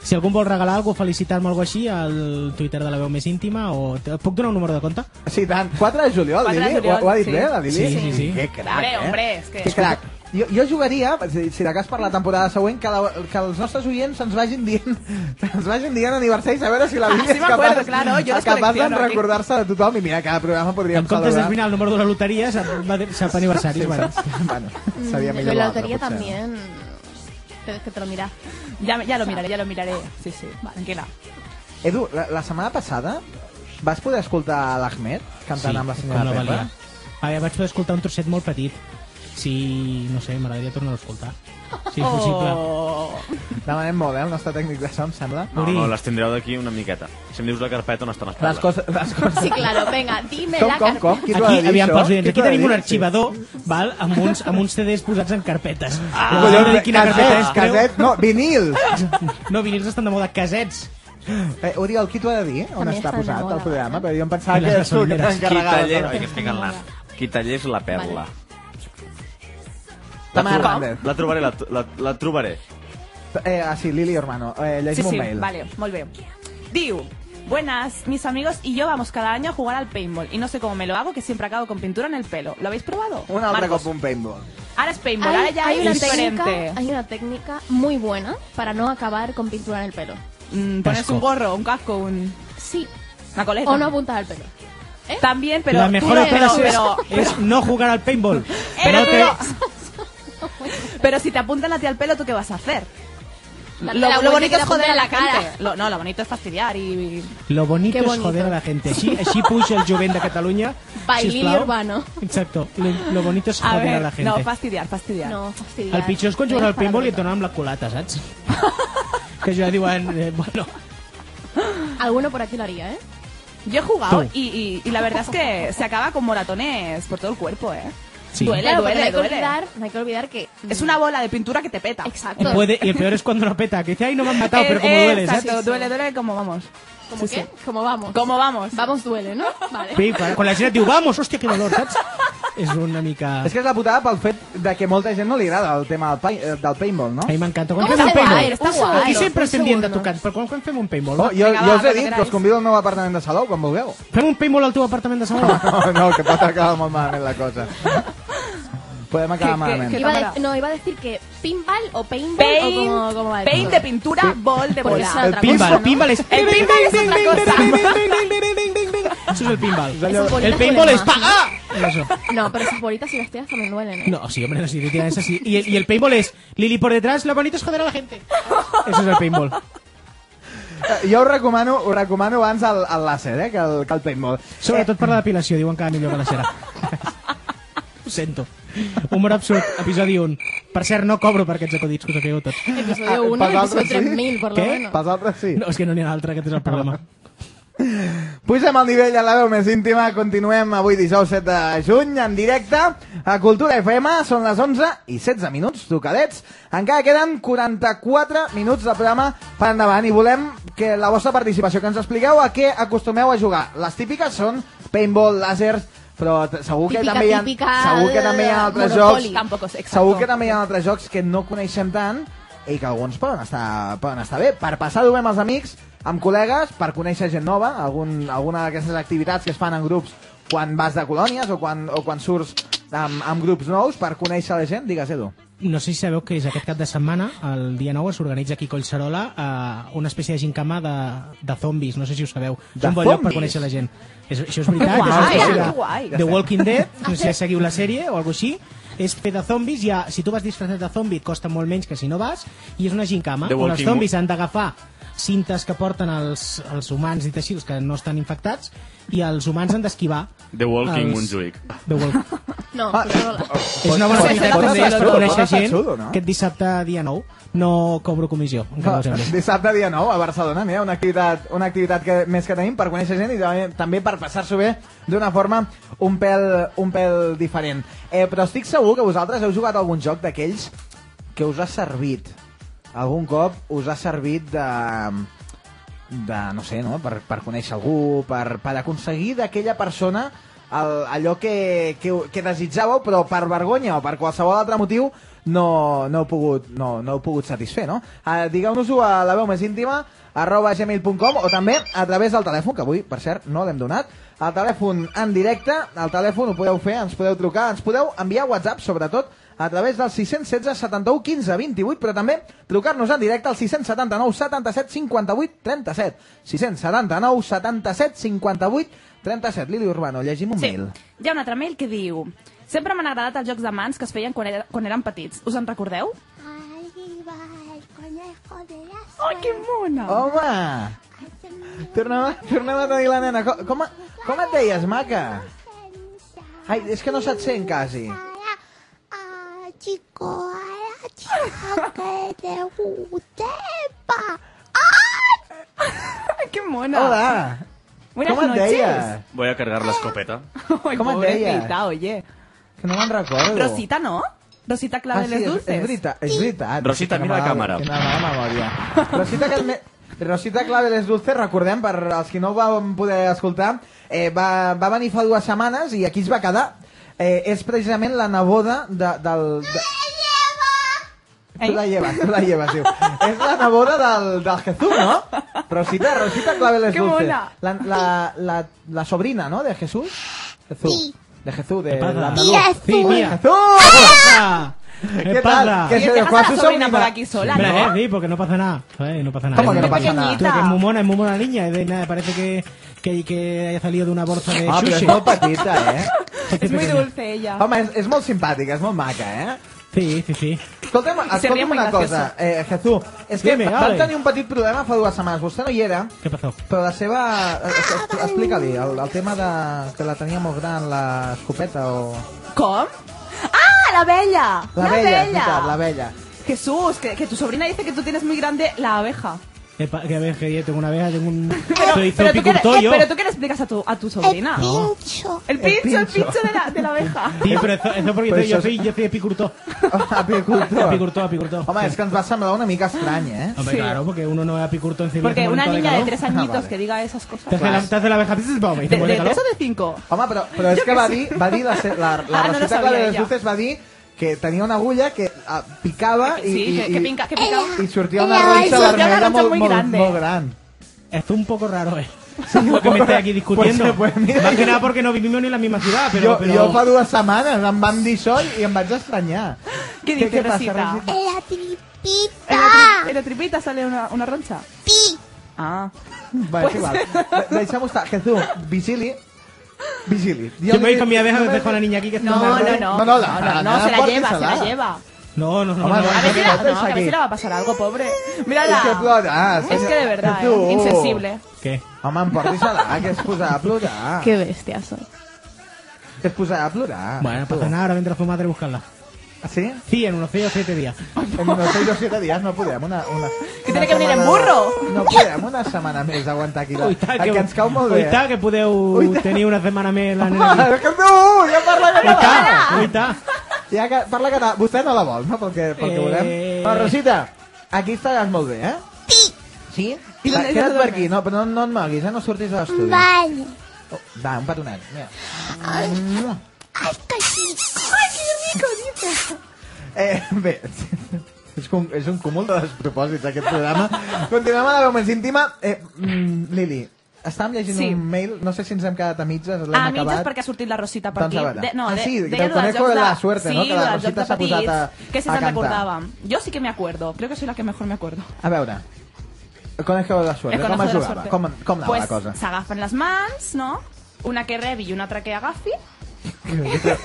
[SPEAKER 7] si algun vol regalar alguna felicitar-me o alguna així, al Twitter de la veu més íntima, o... et Puc donar un número de compte?
[SPEAKER 2] Sí, tant. 4 de juliol,
[SPEAKER 6] 4 de
[SPEAKER 2] Lili.
[SPEAKER 6] juliol,
[SPEAKER 2] ho, ho ha dit
[SPEAKER 6] sí.
[SPEAKER 2] bé, la Lili?
[SPEAKER 7] Sí, sí, sí.
[SPEAKER 2] Que crac,
[SPEAKER 6] Hombre,
[SPEAKER 2] eh?
[SPEAKER 6] hombre, és que-
[SPEAKER 2] Que crac. Jo, jo jugaria, si, si de cas per la temporada següent, que, la, que els nostres oients se'ns vagin dient <laughs> ens vagin dient aniversaris, a veure si la Lili
[SPEAKER 6] Ah, sí
[SPEAKER 2] és
[SPEAKER 6] m'acuerdo,
[SPEAKER 2] capaç,
[SPEAKER 6] claro, jo los
[SPEAKER 2] capaç de
[SPEAKER 6] colecciono aquí.
[SPEAKER 2] recordar-se de tothom. I mira, cada programa podríem
[SPEAKER 7] en comptes
[SPEAKER 2] celebrar...
[SPEAKER 7] d'esbrinar el número de la loteria, sap, va dir- sap aniversaris. bueno.
[SPEAKER 2] <laughs> bueno, seria
[SPEAKER 5] Mm,
[SPEAKER 2] millor
[SPEAKER 5] Lo de la
[SPEAKER 2] l'altre,
[SPEAKER 5] lotería
[SPEAKER 2] potser.
[SPEAKER 5] también. Tienes que te lo mirar.
[SPEAKER 6] Ya, ya lo miraré, ya lo miraré. Sí, sí, tranquila.
[SPEAKER 2] Edu, la, la setmana passada vas poder escoltar l'Ahmed cantant amb la senyora
[SPEAKER 7] com no
[SPEAKER 2] Pepa?
[SPEAKER 7] valia. Ah, ja vaig poder escoltar un trosset molt petit. Si, no sé, m'agradaria tornar a escoltar. Si és possible.
[SPEAKER 6] Oh.
[SPEAKER 2] Demanem molt, eh, el nostre tècnic de so, em sembla.
[SPEAKER 4] No,
[SPEAKER 7] Uri.
[SPEAKER 4] no, les tindreu d'aquí una miqueta. Si em dius la carpeta on estan les
[SPEAKER 2] Les
[SPEAKER 4] parles.
[SPEAKER 2] coses... Les coses...
[SPEAKER 5] Sí, claro, venga, dime
[SPEAKER 2] Com,
[SPEAKER 5] la
[SPEAKER 2] com,
[SPEAKER 5] carpeta.
[SPEAKER 2] com? Qui t'ho ha
[SPEAKER 7] Aquí,
[SPEAKER 2] de dir,
[SPEAKER 7] aviam,
[SPEAKER 2] això?
[SPEAKER 7] pels oients,
[SPEAKER 2] Qui
[SPEAKER 7] aquí
[SPEAKER 2] t'ho ha de
[SPEAKER 7] tenim
[SPEAKER 2] dir?
[SPEAKER 7] un
[SPEAKER 2] Sí.
[SPEAKER 7] arxivador val, amb, uns, amb uns CDs posats en carpetes. Ah,
[SPEAKER 2] Collons, casets, casets, no,
[SPEAKER 7] <laughs>
[SPEAKER 2] vinil.
[SPEAKER 7] No, vinils estan de moda, casets.
[SPEAKER 2] Eh, Oriol, qui t'ho ha de dir? On
[SPEAKER 5] També
[SPEAKER 2] està
[SPEAKER 5] està de
[SPEAKER 2] posat
[SPEAKER 5] moda,
[SPEAKER 2] el programa?
[SPEAKER 5] eh?
[SPEAKER 2] Però jo em pensava
[SPEAKER 7] I
[SPEAKER 2] que
[SPEAKER 7] les
[SPEAKER 2] eres tu que
[SPEAKER 7] gasolineres.
[SPEAKER 8] Qui taller...
[SPEAKER 2] t'encarregaves.
[SPEAKER 8] Ai, que estic en la... Qui taller és la perla.
[SPEAKER 2] Tamara
[SPEAKER 8] La tro-
[SPEAKER 2] Hernández.
[SPEAKER 8] La trobaré, la, la, la trobaré.
[SPEAKER 2] Eh, ah, sí, Lili Hermano. Eh,
[SPEAKER 6] Sí,
[SPEAKER 2] llegim
[SPEAKER 6] sí,
[SPEAKER 2] un mail.
[SPEAKER 6] vale, molt bé. Diu, buenas, mis amigos y yo vamos cada año a jugar al paintball y no sé cómo me lo hago que siempre acabo con pintura en el pelo. ¿Lo habéis probado?
[SPEAKER 2] Un altre
[SPEAKER 6] Marcos,
[SPEAKER 2] cop un paintball.
[SPEAKER 6] Ahora es paintball, ahora
[SPEAKER 5] Hay,
[SPEAKER 6] ya
[SPEAKER 5] hay
[SPEAKER 6] es
[SPEAKER 5] una
[SPEAKER 6] diferente.
[SPEAKER 5] técnica, hay una técnica muy buena para no acabar con pintura en el pelo.
[SPEAKER 6] Mm, pones
[SPEAKER 7] Casco.
[SPEAKER 6] un gorro, un casco, un...
[SPEAKER 5] Sí,
[SPEAKER 6] una coleta.
[SPEAKER 5] o no apuntar al pelo.
[SPEAKER 6] También, pero...
[SPEAKER 7] la mejor
[SPEAKER 6] pero, pero,
[SPEAKER 7] operación
[SPEAKER 6] <laughs> pero,
[SPEAKER 7] es, es no jugar al paintball.
[SPEAKER 6] pero-
[SPEAKER 7] te-
[SPEAKER 6] <laughs> pero si te apuntan a ti al pelo, ¿tú qué vas a hacer?
[SPEAKER 5] La-
[SPEAKER 6] Lo,
[SPEAKER 5] la bonita
[SPEAKER 6] lo bonito
[SPEAKER 5] que
[SPEAKER 6] es joder
[SPEAKER 5] te
[SPEAKER 6] a la
[SPEAKER 5] apunten a la
[SPEAKER 6] cara. Lo- no, lo bonito es fastidiar y...
[SPEAKER 7] Lo bonito,
[SPEAKER 5] Qué
[SPEAKER 7] es
[SPEAKER 5] bonito.
[SPEAKER 7] joder a la gente. Així, així puja el jovent de Catalunya.
[SPEAKER 5] Bailín
[SPEAKER 7] sisplau.
[SPEAKER 5] urbano.
[SPEAKER 7] Exacto. Lo, lo bonito es
[SPEAKER 6] A
[SPEAKER 7] joder a,
[SPEAKER 6] ver,
[SPEAKER 7] la gente.
[SPEAKER 6] no, fastidiar, fastidiar.
[SPEAKER 5] No, fastidiar.
[SPEAKER 7] El pitjor és quan juguen al
[SPEAKER 5] Venga,
[SPEAKER 7] paintball i et
[SPEAKER 5] para
[SPEAKER 7] donen amb la culata, saps? <laughs> que ja diuen, eh, bueno,
[SPEAKER 5] arriba. Alguno por aquí lo haría, ¿eh?
[SPEAKER 6] Yo he jugado
[SPEAKER 7] Tú.
[SPEAKER 6] y, y- y la verdad es que se acaba con moratones por todo el cuerpo, ¿eh?
[SPEAKER 7] Sí.
[SPEAKER 6] Duele,
[SPEAKER 5] Claro, porque
[SPEAKER 6] duele,
[SPEAKER 5] no hay que
[SPEAKER 6] duele.
[SPEAKER 5] olvidar, no hay que olvidar que
[SPEAKER 6] Es una bola de pintura que te peta.
[SPEAKER 5] Mm. exacto.
[SPEAKER 7] y puede, y el peor es cuando lo peta, que dice, ay, no me han matado,
[SPEAKER 6] Eh,
[SPEAKER 7] pero como
[SPEAKER 6] eh,
[SPEAKER 7] duele,
[SPEAKER 6] exacto,
[SPEAKER 7] ¿sabes?
[SPEAKER 6] duele, duele como vamos.
[SPEAKER 5] ¿Cómo
[SPEAKER 6] Sí,
[SPEAKER 5] qué?
[SPEAKER 6] sí.
[SPEAKER 5] ¿Cómo vamos?
[SPEAKER 6] Como vamos.
[SPEAKER 5] Vamos duele, ¿no? Vale.
[SPEAKER 7] Pipa, con la gent et diu, vamos, hòstia, que dolor, saps? És una mica...
[SPEAKER 2] És que és la putada pel fet de que molta gent no li agrada el tema del, pa eh, del paintball, no?
[SPEAKER 7] A mi m'encanta. Quan
[SPEAKER 5] Com
[SPEAKER 7] fem
[SPEAKER 5] se
[SPEAKER 7] un
[SPEAKER 5] va?
[SPEAKER 7] paintball...
[SPEAKER 5] Està
[SPEAKER 7] Un
[SPEAKER 5] guai.
[SPEAKER 7] segon, Aquí
[SPEAKER 5] Un
[SPEAKER 7] sempre estem dient de
[SPEAKER 5] segon, no?
[SPEAKER 7] tocar, però quan, quan fem un paintball?
[SPEAKER 2] Oh,
[SPEAKER 7] va?
[SPEAKER 2] jo,
[SPEAKER 6] Vinga,
[SPEAKER 2] jo
[SPEAKER 6] va,
[SPEAKER 2] us he
[SPEAKER 6] quan
[SPEAKER 2] dit que
[SPEAKER 6] queráis.
[SPEAKER 2] us convido al meu apartament de Salou, quan vulgueu. <laughs>
[SPEAKER 7] Fem un paintball al teu apartament de Salou?
[SPEAKER 2] No, no, que pot acabar molt malament la
[SPEAKER 6] <laughs>
[SPEAKER 2] cosa. Podem acabar
[SPEAKER 6] Que- que-
[SPEAKER 2] malament.
[SPEAKER 6] que-
[SPEAKER 5] Iba a
[SPEAKER 6] Tamara.
[SPEAKER 5] de- no, iba a decir que pinball o paintball
[SPEAKER 6] Paint,
[SPEAKER 5] o como, como va
[SPEAKER 6] paint de pintura, bol de
[SPEAKER 5] Porque
[SPEAKER 6] bola.
[SPEAKER 5] esa-
[SPEAKER 2] El
[SPEAKER 5] otra
[SPEAKER 7] Pinball,
[SPEAKER 5] cosa,
[SPEAKER 7] el
[SPEAKER 5] no?
[SPEAKER 7] pinball és...
[SPEAKER 6] El pinball és otra cosa.
[SPEAKER 7] Això és el pinball.
[SPEAKER 2] allò-
[SPEAKER 5] Esas bolitas
[SPEAKER 7] El paintball
[SPEAKER 5] duelen
[SPEAKER 7] es
[SPEAKER 5] más.
[SPEAKER 7] pagar! Eso.
[SPEAKER 5] No, pero esas bolitas y las tiras también duelen, ¿eh?
[SPEAKER 7] No, sí, hombre, no, sí, definitivamente es así. Y el, y el paintball es, Lili por detrás, lo bonito es joder a la gente. Eso es el paintball.
[SPEAKER 2] Eh, Jo us recomano, us recomano abans el, el làser, eh, que el, que el paintball.
[SPEAKER 7] Sobretot per la depilació, diuen que millor que la cera. Ho sento. Humor absurd, episodi 1. Per cert, no cobro per aquests acudits que us sapigueu tots.
[SPEAKER 5] Episodio
[SPEAKER 2] Ah,
[SPEAKER 5] 1
[SPEAKER 2] para
[SPEAKER 5] episodio
[SPEAKER 2] otros sí.
[SPEAKER 5] 3000, por lo
[SPEAKER 7] ¿Qué?
[SPEAKER 5] menos.
[SPEAKER 2] Pels altres sí.
[SPEAKER 7] No, és que no n'hi ha altre, aquest és el problema.
[SPEAKER 2] Pugem al nivell a la veu més íntima, continuem avui dijous 7 de juny en directe a Cultura FM, són les 11 i 16 minuts, tocadets. Encara queden 44 minuts de programa per endavant i volem que la vostra participació, que ens expliqueu a què acostumeu a jugar. Les típiques són paintball, làsers, però t- segur que
[SPEAKER 5] Típica,
[SPEAKER 2] també hi ha,
[SPEAKER 5] típica,
[SPEAKER 2] segur que també hi ha altres
[SPEAKER 5] Monopoly.
[SPEAKER 2] jocs
[SPEAKER 6] Tampoco es exacto.
[SPEAKER 2] Segur que també hi ha altres jocs que no coneixem tant i que alguns poden estar, poden estar bé, per passar d'ho bé amb els amics, amb col·legues, per conèixer gent nova, algun, alguna d'aquestes activitats que es fan en grups quan vas de colònies o quan, o quan surts amb, amb grups nous per conèixer la gent, digues Edu.
[SPEAKER 7] No sé si sabeu que és aquest cap de setmana, el dia 9, s'organitza aquí a Collserola eh, una espècie de gincama de, de zombis, no sé si ho sabeu.
[SPEAKER 2] De
[SPEAKER 7] és un bon lloc per
[SPEAKER 2] zombis?
[SPEAKER 7] conèixer la gent. És, això és veritat.
[SPEAKER 6] Guai,
[SPEAKER 7] és una espècie
[SPEAKER 6] que
[SPEAKER 7] de-
[SPEAKER 6] guai.
[SPEAKER 7] The Walking Dead, no sé si seguiu la sèrie o alguna així, és fer de zombis, ja, si tu vas disfressat de zombi et costa molt menys que si no vas, i és una gincama
[SPEAKER 4] The
[SPEAKER 7] on els
[SPEAKER 4] Walking
[SPEAKER 7] zombis han d'agafar cintes que porten els, els humans i així, els que no estan infectats, i els humans han d'esquivar.
[SPEAKER 4] The Walking
[SPEAKER 7] els-
[SPEAKER 4] Montjuïc.
[SPEAKER 7] The Walking
[SPEAKER 5] No,
[SPEAKER 2] Ah,
[SPEAKER 5] Collserola.
[SPEAKER 7] és una bona
[SPEAKER 6] Pots-
[SPEAKER 7] activitat
[SPEAKER 6] pots
[SPEAKER 7] també
[SPEAKER 6] estar
[SPEAKER 7] per
[SPEAKER 6] xulo,
[SPEAKER 7] conèixer
[SPEAKER 2] pots estar
[SPEAKER 7] gent
[SPEAKER 2] xulo, no?
[SPEAKER 7] aquest dissabte dia 9 no cobro comissió encara no, no
[SPEAKER 2] <laughs>
[SPEAKER 6] <laughs>
[SPEAKER 2] Dissabte dia 9 a Barcelona n'hi ha una activitat, una activitat que, més que tenim per conèixer gent i també, també per passar-s'ho bé d'una forma un pèl, un pèl diferent. Eh, però estic segur que vosaltres heu jugat a algun joc d'aquells que us ha servit. Algun cop us ha servit de de, no sé, no? Per, per conèixer algú, per, per aconseguir d'aquella persona el, allò que, que, que desitjàveu, però per vergonya o per qualsevol altre motiu no, no, heu, pogut, no, no heu pogut satisfer, no? Uh, Digueu-nos-ho a la veu més íntima, arroba gmail.com o també a través del telèfon, que avui, per cert, no l'hem donat, el telèfon en directe, el telèfon ho podeu fer, ens podeu trucar, ens podeu enviar WhatsApp, sobretot, a través del 616 71 15 28, però també trucar-nos en directe al 679 77 58 37. 679 77 58 37. Lili Urbano, llegim un
[SPEAKER 6] Sí.
[SPEAKER 2] mail.
[SPEAKER 6] Hi ha un altre mail que diu... Sempre m'han agradat els jocs de mans que es feien quan, era, quan érem petits. Us en recordeu?
[SPEAKER 9] Ahí va el conejo de las
[SPEAKER 6] Ai, que mona!
[SPEAKER 2] Home!
[SPEAKER 9] patas.
[SPEAKER 2] Tornem a, tornem a tenir la nena. Com, com, com et deies, maca? Ai, és que no se't sent quasi.
[SPEAKER 9] Ah, chico, a la chica que te guste, pa.
[SPEAKER 6] Ai, que mona!
[SPEAKER 2] Hola!
[SPEAKER 6] Buenas
[SPEAKER 2] com et
[SPEAKER 6] noches.
[SPEAKER 2] deies?
[SPEAKER 8] Voy a cargar la escopeta.
[SPEAKER 6] <laughs> Ai,
[SPEAKER 2] Com et deies?
[SPEAKER 6] pobrecita, oye.
[SPEAKER 2] Que no me'n recordo.
[SPEAKER 6] Rosita, no? Rosita
[SPEAKER 2] Ah,
[SPEAKER 6] Claveles
[SPEAKER 2] sí, és,
[SPEAKER 6] Dulces.
[SPEAKER 2] és veritat, és veritat.
[SPEAKER 4] Rosita, mira la càmera.
[SPEAKER 2] Que mala memòria. Rosita, que me... Rosita Claveles Dulces, recordem, per als que no ho vam poder escoltar, eh, va, va venir fa dues setmanes i aquí es va quedar. Eh, és precisament la neboda de, del... De... Tu la lleves, tu la lleves, diu. és la neboda del, del Jesús, no? Rosita, Rosita Claveles
[SPEAKER 6] Que
[SPEAKER 2] Dulces.
[SPEAKER 6] mola.
[SPEAKER 2] La, la, la, la sobrina, no?, de Jesús. Jesús.
[SPEAKER 9] Sí.
[SPEAKER 2] De Jesús, de...
[SPEAKER 7] Epada.
[SPEAKER 2] la-
[SPEAKER 9] Tía, es
[SPEAKER 7] Sí, mira.
[SPEAKER 2] ¡Jesús!
[SPEAKER 7] ¡Epa!
[SPEAKER 2] ¡Oh! ¿Qué tal?
[SPEAKER 7] ¡Epa!
[SPEAKER 2] ¿Qué
[SPEAKER 6] Y
[SPEAKER 2] se
[SPEAKER 6] te
[SPEAKER 2] dejó
[SPEAKER 6] pasa
[SPEAKER 2] a
[SPEAKER 6] la
[SPEAKER 2] su
[SPEAKER 6] sobrina
[SPEAKER 2] sobrina?
[SPEAKER 6] por aquí sola,
[SPEAKER 7] Hombre,
[SPEAKER 6] ¿no?
[SPEAKER 7] eh, sí, porque no pasa nada. Joder, no pasa nada.
[SPEAKER 2] ¿Cómo que no
[SPEAKER 7] Tú,
[SPEAKER 2] pasa nada?
[SPEAKER 7] que es muy mona, es muy mona niña. Es de nada, parece que, que, que haya salido de una bolsa de
[SPEAKER 2] Ah, però és
[SPEAKER 7] sushi. <laughs>
[SPEAKER 2] molt petita, eh?
[SPEAKER 7] Porque
[SPEAKER 6] Es muy
[SPEAKER 7] pequeña.
[SPEAKER 6] dulce ella.
[SPEAKER 2] Home, és, és molt simpàtica, és molt maca, eh?
[SPEAKER 7] Sí, sí, sí.
[SPEAKER 2] Escolta'm,
[SPEAKER 6] seria
[SPEAKER 2] escolta'm
[SPEAKER 6] muy
[SPEAKER 2] una cosa,
[SPEAKER 6] graciosa.
[SPEAKER 2] eh, Jesús. És que
[SPEAKER 7] Dime,
[SPEAKER 2] vam
[SPEAKER 7] dale.
[SPEAKER 2] tenir un petit problema fa dues setmanes. Vostè no hi era,
[SPEAKER 7] ¿Qué pasó?
[SPEAKER 2] però la seva... eh, es- Explica-li, el, el tema de que la tenia molt gran, l'escopeta o...
[SPEAKER 6] ¿Com? ¡Ah, la bella!
[SPEAKER 2] La vella, és veritat, la vella.
[SPEAKER 7] <laughs>
[SPEAKER 6] Jesús, que, que tu sobrina dice que tú tienes muy grande la abeja.
[SPEAKER 7] Epa, Que a ver, que yo tengo una abeja, tengo un...
[SPEAKER 6] <laughs> Pero,
[SPEAKER 7] Soy
[SPEAKER 6] pero tú, qué,
[SPEAKER 7] zopicultor
[SPEAKER 6] le- eh,
[SPEAKER 7] yo.
[SPEAKER 6] pero tú qué le explicas a tu, a tu
[SPEAKER 9] El
[SPEAKER 6] sobrina.
[SPEAKER 9] pincho.
[SPEAKER 6] El pincho, el
[SPEAKER 2] pincho.
[SPEAKER 6] pincho de la, de
[SPEAKER 2] <laughs>
[SPEAKER 6] la abeja.
[SPEAKER 7] Sí, pero eso, eso porque
[SPEAKER 2] Pero
[SPEAKER 7] soy- yo,
[SPEAKER 2] eso
[SPEAKER 7] soy, yo soy epicultor.
[SPEAKER 2] Oh, Apicultor.
[SPEAKER 7] Apicultor, apicultor.
[SPEAKER 2] Home, és que ens va semblar una mica estrany, eh?
[SPEAKER 7] Hombre,
[SPEAKER 6] Sí.
[SPEAKER 7] claro, porque uno no es apicultor en
[SPEAKER 6] Porque una niña de tres
[SPEAKER 2] Ah,
[SPEAKER 6] añitos
[SPEAKER 2] vale.
[SPEAKER 6] que diga esas cosas.
[SPEAKER 7] Te hace la, te hace la abeja... y te
[SPEAKER 6] Pues, ¿De,
[SPEAKER 7] muere
[SPEAKER 6] de
[SPEAKER 7] de calor.
[SPEAKER 6] tres o de cinco?
[SPEAKER 2] Home, però, però és que va dir, va dir la, se- la, la
[SPEAKER 6] Ah, no lo
[SPEAKER 2] Rosita
[SPEAKER 6] sabia
[SPEAKER 2] Clara de les
[SPEAKER 6] ella.
[SPEAKER 2] Luces va dir que tenia una agulla que ah, picava i,
[SPEAKER 6] Sí,
[SPEAKER 2] i,
[SPEAKER 6] que, que
[SPEAKER 2] i-
[SPEAKER 6] pinca, que pica.
[SPEAKER 2] i sortia una
[SPEAKER 9] Ella va
[SPEAKER 2] ronxa
[SPEAKER 9] sortir
[SPEAKER 6] una
[SPEAKER 2] vermella
[SPEAKER 6] ronxa
[SPEAKER 2] molt,
[SPEAKER 6] muy
[SPEAKER 2] molt,
[SPEAKER 6] grande.
[SPEAKER 2] molt gran.
[SPEAKER 7] Esto es un poco raro, ¿eh? lo que me estoy aquí discutiendo.
[SPEAKER 2] Pues, pues, mira.
[SPEAKER 7] Más que nada porque no vivimos ni en la misma ciudad, pero...
[SPEAKER 2] jo,
[SPEAKER 7] pero-
[SPEAKER 2] jo fa dues setmanes em van dir això i em vaig estranyar.
[SPEAKER 6] Què diu, Eh,
[SPEAKER 2] què
[SPEAKER 6] Rosita?
[SPEAKER 2] passa, Rosita?
[SPEAKER 9] En
[SPEAKER 6] En
[SPEAKER 9] la
[SPEAKER 6] la, tri-
[SPEAKER 9] tripita.
[SPEAKER 6] en la tripita sale una, una roncha.
[SPEAKER 9] Pi.
[SPEAKER 6] Ah.
[SPEAKER 2] Mm, Va, és
[SPEAKER 6] Pues-
[SPEAKER 2] igual. De- Deixa'm estar. Jesús, vigili. Vigili.
[SPEAKER 7] Yo me voy con mi abeja, me dejo a la niña aquí que está
[SPEAKER 6] No,
[SPEAKER 7] mal.
[SPEAKER 6] no, no.
[SPEAKER 2] No, no, la-
[SPEAKER 6] no,
[SPEAKER 2] la-
[SPEAKER 6] se la
[SPEAKER 2] porta
[SPEAKER 6] lleva, se la
[SPEAKER 2] salada. <laughs>
[SPEAKER 6] lleva.
[SPEAKER 7] No, no, no.
[SPEAKER 2] Home,
[SPEAKER 7] no,
[SPEAKER 2] no,
[SPEAKER 6] A ver si la,
[SPEAKER 2] Nosotros
[SPEAKER 6] no, que a ver
[SPEAKER 2] aquí.
[SPEAKER 6] si la va a pasar algo, pobre.
[SPEAKER 2] És que
[SPEAKER 6] Mírala.
[SPEAKER 2] plora,
[SPEAKER 6] Es que de verdad, eh, insensible.
[SPEAKER 7] ¿Qué?
[SPEAKER 2] Home, em portis a la, que es posarà a plorar.
[SPEAKER 5] Qué bestia soy.
[SPEAKER 2] Que es posarà a
[SPEAKER 6] Ah,
[SPEAKER 2] plorar.
[SPEAKER 7] Bueno, pasa nada, ahora vendrá su madre a buscarla.
[SPEAKER 2] Ah, Sí?
[SPEAKER 7] Sí, en unos 6 o 7 días.
[SPEAKER 2] En unos 6 o 7 días no podem una... una
[SPEAKER 6] Que
[SPEAKER 2] una
[SPEAKER 6] tiene que venir en
[SPEAKER 2] setmana-
[SPEAKER 6] burro.
[SPEAKER 2] No podem una setmana més aguantar aquí.
[SPEAKER 7] Uita,
[SPEAKER 2] el que ens cau molt
[SPEAKER 6] ¿eh?
[SPEAKER 2] bé.
[SPEAKER 7] Uita, que podeu
[SPEAKER 2] Uita.
[SPEAKER 7] tenir una setmana més
[SPEAKER 6] <laughs>
[SPEAKER 7] la nena aquí.
[SPEAKER 2] Home, que no, ja parla català.
[SPEAKER 7] Uita, uita.
[SPEAKER 2] Ja que parla català. Vostè no la vol, no? Pel que, pel que
[SPEAKER 7] Eh.
[SPEAKER 2] volem. Però, Rosita, aquí estaràs molt bé, eh? Sí? Sí? Va, Queda't per aquí, no, però no, no et moguis, eh? No surtis de l'estudi.
[SPEAKER 9] Vale.
[SPEAKER 2] Oh, va, un petonet. Mira.
[SPEAKER 9] Ay, qué rico. Ay, qué rico, dice.
[SPEAKER 2] Eh, bé, És, com, és un cúmul de despropòsits, aquest programa. Continuem a la veu més íntima. Eh, mm, Lili, estàvem llegint
[SPEAKER 6] Sí.
[SPEAKER 2] un mail, no sé si ens hem quedat a mitges, l'hem
[SPEAKER 6] A
[SPEAKER 2] acabat.
[SPEAKER 6] mitges perquè Ah, ha sortit la Rosita per
[SPEAKER 2] Doncs a
[SPEAKER 6] aquí.
[SPEAKER 2] veure.
[SPEAKER 6] De, no,
[SPEAKER 2] Ah,
[SPEAKER 6] de-
[SPEAKER 2] sí,
[SPEAKER 6] deia
[SPEAKER 2] del
[SPEAKER 6] lo dels
[SPEAKER 2] conejo de
[SPEAKER 6] jocs
[SPEAKER 2] la suerte,
[SPEAKER 6] sí,
[SPEAKER 2] no? Que la
[SPEAKER 6] lo dels
[SPEAKER 2] Rosita
[SPEAKER 6] jocs
[SPEAKER 2] s'ha
[SPEAKER 6] de
[SPEAKER 2] posat a-
[SPEAKER 6] petits, Que si
[SPEAKER 2] a
[SPEAKER 6] se'n
[SPEAKER 2] cantar.
[SPEAKER 6] recordava. Jo sí que me acuerdo. Creo que soy la que mejor me acuerdo.
[SPEAKER 2] A veure, el conejo de la
[SPEAKER 6] El
[SPEAKER 2] suerte, com
[SPEAKER 6] conejo de
[SPEAKER 2] es
[SPEAKER 6] Eh, la
[SPEAKER 2] jugava?
[SPEAKER 6] suerte.
[SPEAKER 2] Com, com anava
[SPEAKER 6] pues,
[SPEAKER 2] la cosa? <laughs>
[SPEAKER 6] S'agafen les mans, no? Una que rebi i una altra que agafi.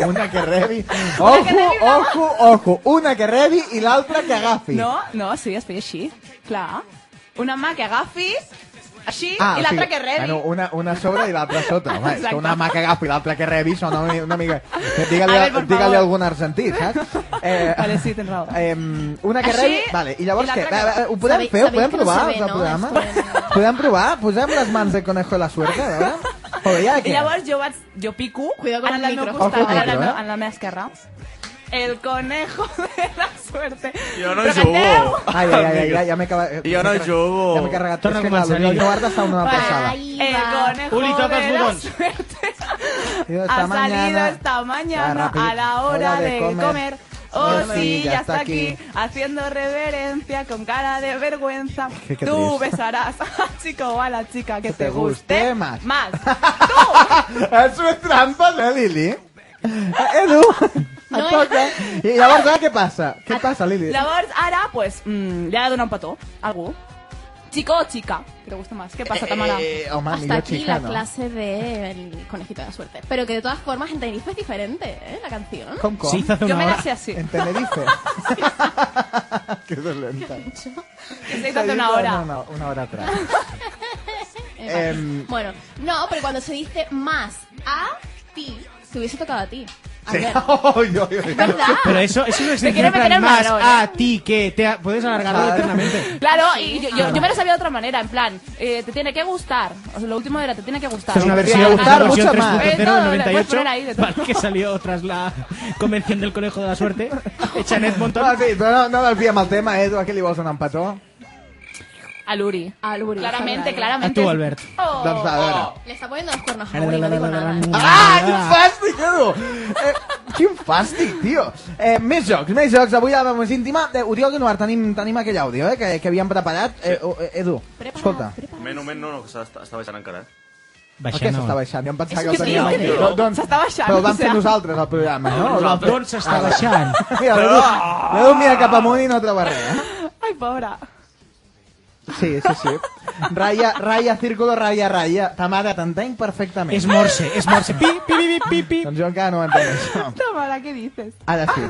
[SPEAKER 2] Una que rebi.
[SPEAKER 6] Una que
[SPEAKER 2] Ojo,
[SPEAKER 6] rebi, no.
[SPEAKER 2] ojo, ojo. Una que rebi i l'altra que agafi.
[SPEAKER 6] No, no, sí, es feia així. Clar. Una mà que agafi, així,
[SPEAKER 2] Ah,
[SPEAKER 6] i
[SPEAKER 2] o
[SPEAKER 6] l'altra
[SPEAKER 2] sigui,
[SPEAKER 6] que rebi.
[SPEAKER 2] Bueno, una, una a sobre i l'altra a sota. Home, és que
[SPEAKER 6] Exacte.
[SPEAKER 2] una mà que agafi i l'altra que rebi sona una, una mica... Digue-li
[SPEAKER 6] A ver, por
[SPEAKER 2] digue
[SPEAKER 6] favor.
[SPEAKER 2] algun argentí,
[SPEAKER 6] <laughs>
[SPEAKER 2] saps? Eh,
[SPEAKER 6] <laughs> Vale, sí, tens raó.
[SPEAKER 2] Eh, una que
[SPEAKER 6] Així,
[SPEAKER 2] rebi... Vale, I llavors
[SPEAKER 6] i
[SPEAKER 2] què?
[SPEAKER 6] l'altra
[SPEAKER 2] Va,
[SPEAKER 6] que-
[SPEAKER 2] va, ho podem
[SPEAKER 5] Sabeu-
[SPEAKER 2] fer? Ho
[SPEAKER 5] sabeu
[SPEAKER 2] podem
[SPEAKER 5] que no
[SPEAKER 2] provar,
[SPEAKER 5] se ve,
[SPEAKER 2] el
[SPEAKER 5] no?
[SPEAKER 2] programa? <laughs>
[SPEAKER 5] Esto-
[SPEAKER 2] Podem provar? Posem les mans de Conejo de la Suerte, a veure? O ja
[SPEAKER 6] I
[SPEAKER 2] què?
[SPEAKER 6] llavors jo vaig... Jo pico
[SPEAKER 5] Cuidado con
[SPEAKER 6] en
[SPEAKER 5] el
[SPEAKER 6] el meu
[SPEAKER 5] micro.
[SPEAKER 6] costat,
[SPEAKER 2] Ojo al
[SPEAKER 6] en, la
[SPEAKER 2] micro,
[SPEAKER 6] me,
[SPEAKER 2] eh?
[SPEAKER 6] en la meva esquerra. El conejo <laughs> de la suerte.
[SPEAKER 8] Jo no
[SPEAKER 6] Però
[SPEAKER 8] jugo.
[SPEAKER 6] canteu!
[SPEAKER 2] Ai, ai, ai, ai, ja, ja m'he acabat...
[SPEAKER 8] Jo no
[SPEAKER 2] m'he carregat-
[SPEAKER 8] jugo.
[SPEAKER 2] Ja m'he carregat.
[SPEAKER 7] Torna
[SPEAKER 2] És que
[SPEAKER 7] a
[SPEAKER 2] clar,
[SPEAKER 7] començar,
[SPEAKER 2] l'Oriol
[SPEAKER 7] Lili.
[SPEAKER 2] Guarda està una passada.
[SPEAKER 5] Ahí
[SPEAKER 6] El
[SPEAKER 5] va.
[SPEAKER 6] conejo
[SPEAKER 4] Uli, toca els
[SPEAKER 6] de la
[SPEAKER 4] botons.
[SPEAKER 6] suerte
[SPEAKER 2] Yo esta
[SPEAKER 6] ha salido
[SPEAKER 2] mañana-
[SPEAKER 6] esta
[SPEAKER 2] Ah,
[SPEAKER 6] mañana
[SPEAKER 2] rápido.
[SPEAKER 6] a la hora de comer. Oh
[SPEAKER 2] Ahora
[SPEAKER 6] sí, ya está aquí, haciendo reverencia con cara de vergüenza.
[SPEAKER 2] <laughs> Qué- qué
[SPEAKER 6] Tú
[SPEAKER 2] triste.
[SPEAKER 6] besarás <laughs> al chico o a la chica que te
[SPEAKER 2] guste
[SPEAKER 6] guste
[SPEAKER 2] más. <laughs>
[SPEAKER 6] más. Tú.
[SPEAKER 2] Eso és trampa, eh, Lili? Eh, Edu, no <laughs> et
[SPEAKER 5] No, eh.
[SPEAKER 2] toca. I llavors ara què passa? Què passa, Lili?
[SPEAKER 6] Llavors, ara, pues, mm, le ha dado un petó a algú. Chico o chica, que te guste más. ¿Qué pasa, Tamara?
[SPEAKER 2] Eh, home,
[SPEAKER 5] Hasta
[SPEAKER 2] millor
[SPEAKER 5] aquí
[SPEAKER 2] xica,
[SPEAKER 5] la
[SPEAKER 2] no?
[SPEAKER 5] clase del conejito de la suerte. Pero que de todas formas en Tenerife es diferente, ¿eh? La canción.
[SPEAKER 2] Com, com?
[SPEAKER 7] Se hizo hace
[SPEAKER 6] Yo
[SPEAKER 7] una
[SPEAKER 6] me la
[SPEAKER 7] hora.
[SPEAKER 2] <laughs>
[SPEAKER 6] sé así.
[SPEAKER 2] En Tenerife. <laughs> que dolenta.
[SPEAKER 6] Se hizo hace una hora.
[SPEAKER 2] Una, una hora
[SPEAKER 6] <laughs>
[SPEAKER 2] atrás.
[SPEAKER 5] Eh,
[SPEAKER 2] Em.
[SPEAKER 5] Bueno, no, pero cuando se dice más a ti, te hubiese tocado a ti.
[SPEAKER 2] <laughs>
[SPEAKER 5] A ver,
[SPEAKER 2] Ay, ay, ay.
[SPEAKER 5] ¿Verdad?
[SPEAKER 7] Pero eso, eso no es
[SPEAKER 6] Te quiere
[SPEAKER 7] en plan,
[SPEAKER 6] meter el
[SPEAKER 7] más
[SPEAKER 6] marrón, ¿eh?
[SPEAKER 7] a ti que te ha- puedes alargarlo eternamente.
[SPEAKER 6] Claro, y yo,
[SPEAKER 2] Ah.
[SPEAKER 6] yo- yo me lo sabía de otra manera, en plan, eh, te tiene que gustar. O sea, lo último era, te tiene que gustar.
[SPEAKER 7] Esta es una
[SPEAKER 2] Ah, Sí,
[SPEAKER 7] versión,
[SPEAKER 2] sí,
[SPEAKER 7] una
[SPEAKER 2] gustar
[SPEAKER 7] versión
[SPEAKER 2] mucho más.
[SPEAKER 7] 3.0
[SPEAKER 6] Eh,
[SPEAKER 7] del
[SPEAKER 6] no, le puedes
[SPEAKER 7] 98,
[SPEAKER 6] poner ahí de todo.
[SPEAKER 7] para que salió tras la convención del conejo de la suerte, hecha en Edmonton.
[SPEAKER 2] No, sí, però no, no desviem el tema, Edu, a qui li vols donar un petó?
[SPEAKER 6] Al Uri.
[SPEAKER 5] Al Uri,
[SPEAKER 6] Claramente,
[SPEAKER 5] claro.
[SPEAKER 7] A
[SPEAKER 6] claramente.
[SPEAKER 7] tu, Albert.
[SPEAKER 6] Oh,
[SPEAKER 2] Doncs va, a veure.
[SPEAKER 5] Le está poniendo los cuernos a Uri, no digo nada. ¿eh?
[SPEAKER 2] Ah, quin fàstic, Edu! Eh, quin fàstic, tio! Eh, més jocs, més jocs. Avui a la més íntima. Eh, Oriol Guinoar, tenim, tenim aquell àudio eh, que, que havíem preparat. Eh, o- eh, Edu,
[SPEAKER 5] Preparado,
[SPEAKER 2] escolta.
[SPEAKER 5] preparado.
[SPEAKER 8] Moment, moment, no, no, que s'està està baixant encara. eh?
[SPEAKER 2] Per què
[SPEAKER 7] Baixant
[SPEAKER 2] s'està
[SPEAKER 7] ahora.
[SPEAKER 2] baixant? Jo em pensava
[SPEAKER 6] És
[SPEAKER 2] que el
[SPEAKER 6] que
[SPEAKER 2] teníem
[SPEAKER 6] sí,
[SPEAKER 2] aquí.
[SPEAKER 6] tio.
[SPEAKER 2] Però, doncs,
[SPEAKER 6] S'està baixant,
[SPEAKER 2] Però el vam
[SPEAKER 6] o
[SPEAKER 2] fer
[SPEAKER 6] sea.
[SPEAKER 2] nosaltres, el programa, no? El vam fer-
[SPEAKER 7] Doncs s'està baixant.
[SPEAKER 2] Mira, l'Edu,
[SPEAKER 6] Ah.
[SPEAKER 2] l'Edu mira cap amunt i no troba res. eh?
[SPEAKER 6] Ay, pobra.
[SPEAKER 2] Sí, sí, sí. Raya, raya, círculo, raya, raya. Ta mare, t'entenc perfectament.
[SPEAKER 7] És morse, és morse. Pi, pi, pi, pi, pi.
[SPEAKER 2] Doncs jo encara no ho entenc, això.
[SPEAKER 6] Tamara, ¿qué dices?
[SPEAKER 2] Ara sí.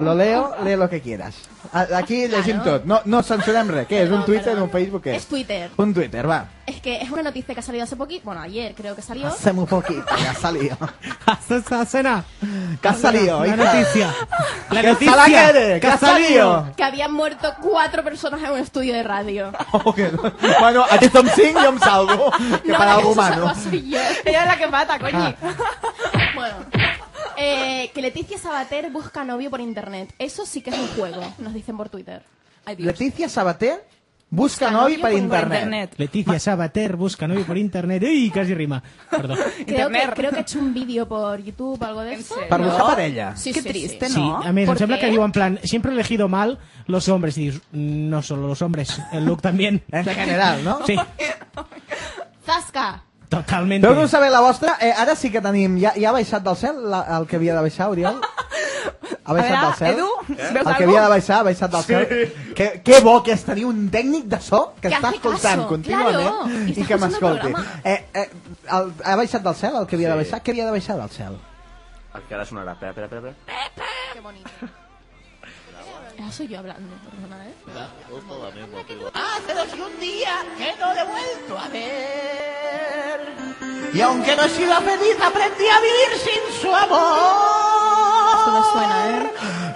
[SPEAKER 2] Lo leo, lee lo que quieras. A- Aquí llegim tot. No, no censurem res. Què? És un
[SPEAKER 5] Perdón,
[SPEAKER 2] Twitter,
[SPEAKER 5] perdón.
[SPEAKER 2] un Facebook? Què és?
[SPEAKER 5] Es Twitter.
[SPEAKER 2] Un Twitter, va.
[SPEAKER 5] Es que es una noticia que ha salido hace poquito, bueno, ayer creo que salió.
[SPEAKER 2] Hacem un poquito, que ha salido.
[SPEAKER 7] Haces la cena.
[SPEAKER 2] Que ha salido,
[SPEAKER 7] La
[SPEAKER 2] hija. <laughs>
[SPEAKER 7] noticia. La
[SPEAKER 2] Que
[SPEAKER 7] noticia.
[SPEAKER 2] sala que eres, que ha salido.
[SPEAKER 5] Que habían muerto cuatro personas en un estudio de radio.
[SPEAKER 2] Oh, que no. Bueno, aquí som cinc, jo em salvo. <laughs> Que
[SPEAKER 5] No,
[SPEAKER 2] per
[SPEAKER 5] de
[SPEAKER 2] algú
[SPEAKER 5] eso
[SPEAKER 2] mano.
[SPEAKER 5] solo soy yo.
[SPEAKER 6] <laughs> Ella es la que mata, coño.
[SPEAKER 5] <laughs> Bueno, eh, que Leticia Sabater busca novio por internet. Eso sí que es un juego, nos dicen por Twitter. Ay, Dios.
[SPEAKER 2] Leticia Sabater busca novi per
[SPEAKER 5] Busca novio per
[SPEAKER 2] internet.
[SPEAKER 7] Leticia Sabater busca novio por internet. Uy, casi rima. Perdón.
[SPEAKER 5] Creo que,
[SPEAKER 6] Internet.
[SPEAKER 5] creo que he hecho un vídeo por YouTube o algo de eso.
[SPEAKER 6] serio?
[SPEAKER 2] Per
[SPEAKER 6] No.
[SPEAKER 2] buscar parella.
[SPEAKER 5] Sí,
[SPEAKER 6] Qué
[SPEAKER 5] sí,
[SPEAKER 6] triste,
[SPEAKER 5] sí.
[SPEAKER 7] Sí,
[SPEAKER 6] ¿no?
[SPEAKER 7] a mí me
[SPEAKER 5] ¿Por
[SPEAKER 7] sembla
[SPEAKER 5] qué?
[SPEAKER 7] que digo en plan, siempre he elegido mal los hombres. Y dices, no solo los hombres, el look también.
[SPEAKER 2] En general, no?
[SPEAKER 7] Sí,
[SPEAKER 5] ¡Zasca!
[SPEAKER 7] totalmente.
[SPEAKER 2] Deu-nos saber la vostra. Eh, ara sí que tenim... Ja, ja ha baixat del cel la, el que havia de baixar,
[SPEAKER 5] <laughs>
[SPEAKER 2] Oriol? Ha
[SPEAKER 6] A
[SPEAKER 2] baixat
[SPEAKER 6] veure,
[SPEAKER 2] del cel? Eh?
[SPEAKER 6] Edu, veus
[SPEAKER 2] El que
[SPEAKER 6] algú?
[SPEAKER 2] havia de baixar, ha baixat del cel. Que, que bo que és tenir un tècnic de so que,
[SPEAKER 5] Que
[SPEAKER 2] està
[SPEAKER 5] hace
[SPEAKER 2] escoltant
[SPEAKER 5] caso,
[SPEAKER 2] contínuament
[SPEAKER 5] claro, i
[SPEAKER 2] i
[SPEAKER 5] està
[SPEAKER 2] que
[SPEAKER 5] escoltant el
[SPEAKER 2] m'escolti.
[SPEAKER 5] programa.
[SPEAKER 2] Eh, eh, el, ha baixat del cel el que havia de baixar? Què havia de baixar del cel?
[SPEAKER 8] El que ara sonarà. Espera, espera, espera. espera.
[SPEAKER 2] <laughs>
[SPEAKER 5] Qué bonito. Eso soy yo hablando, perdona, ¿eh?
[SPEAKER 2] Y aunque no he sido feliz, aprendí a vivir sin su amor.
[SPEAKER 5] Esto me suena, ¿eh?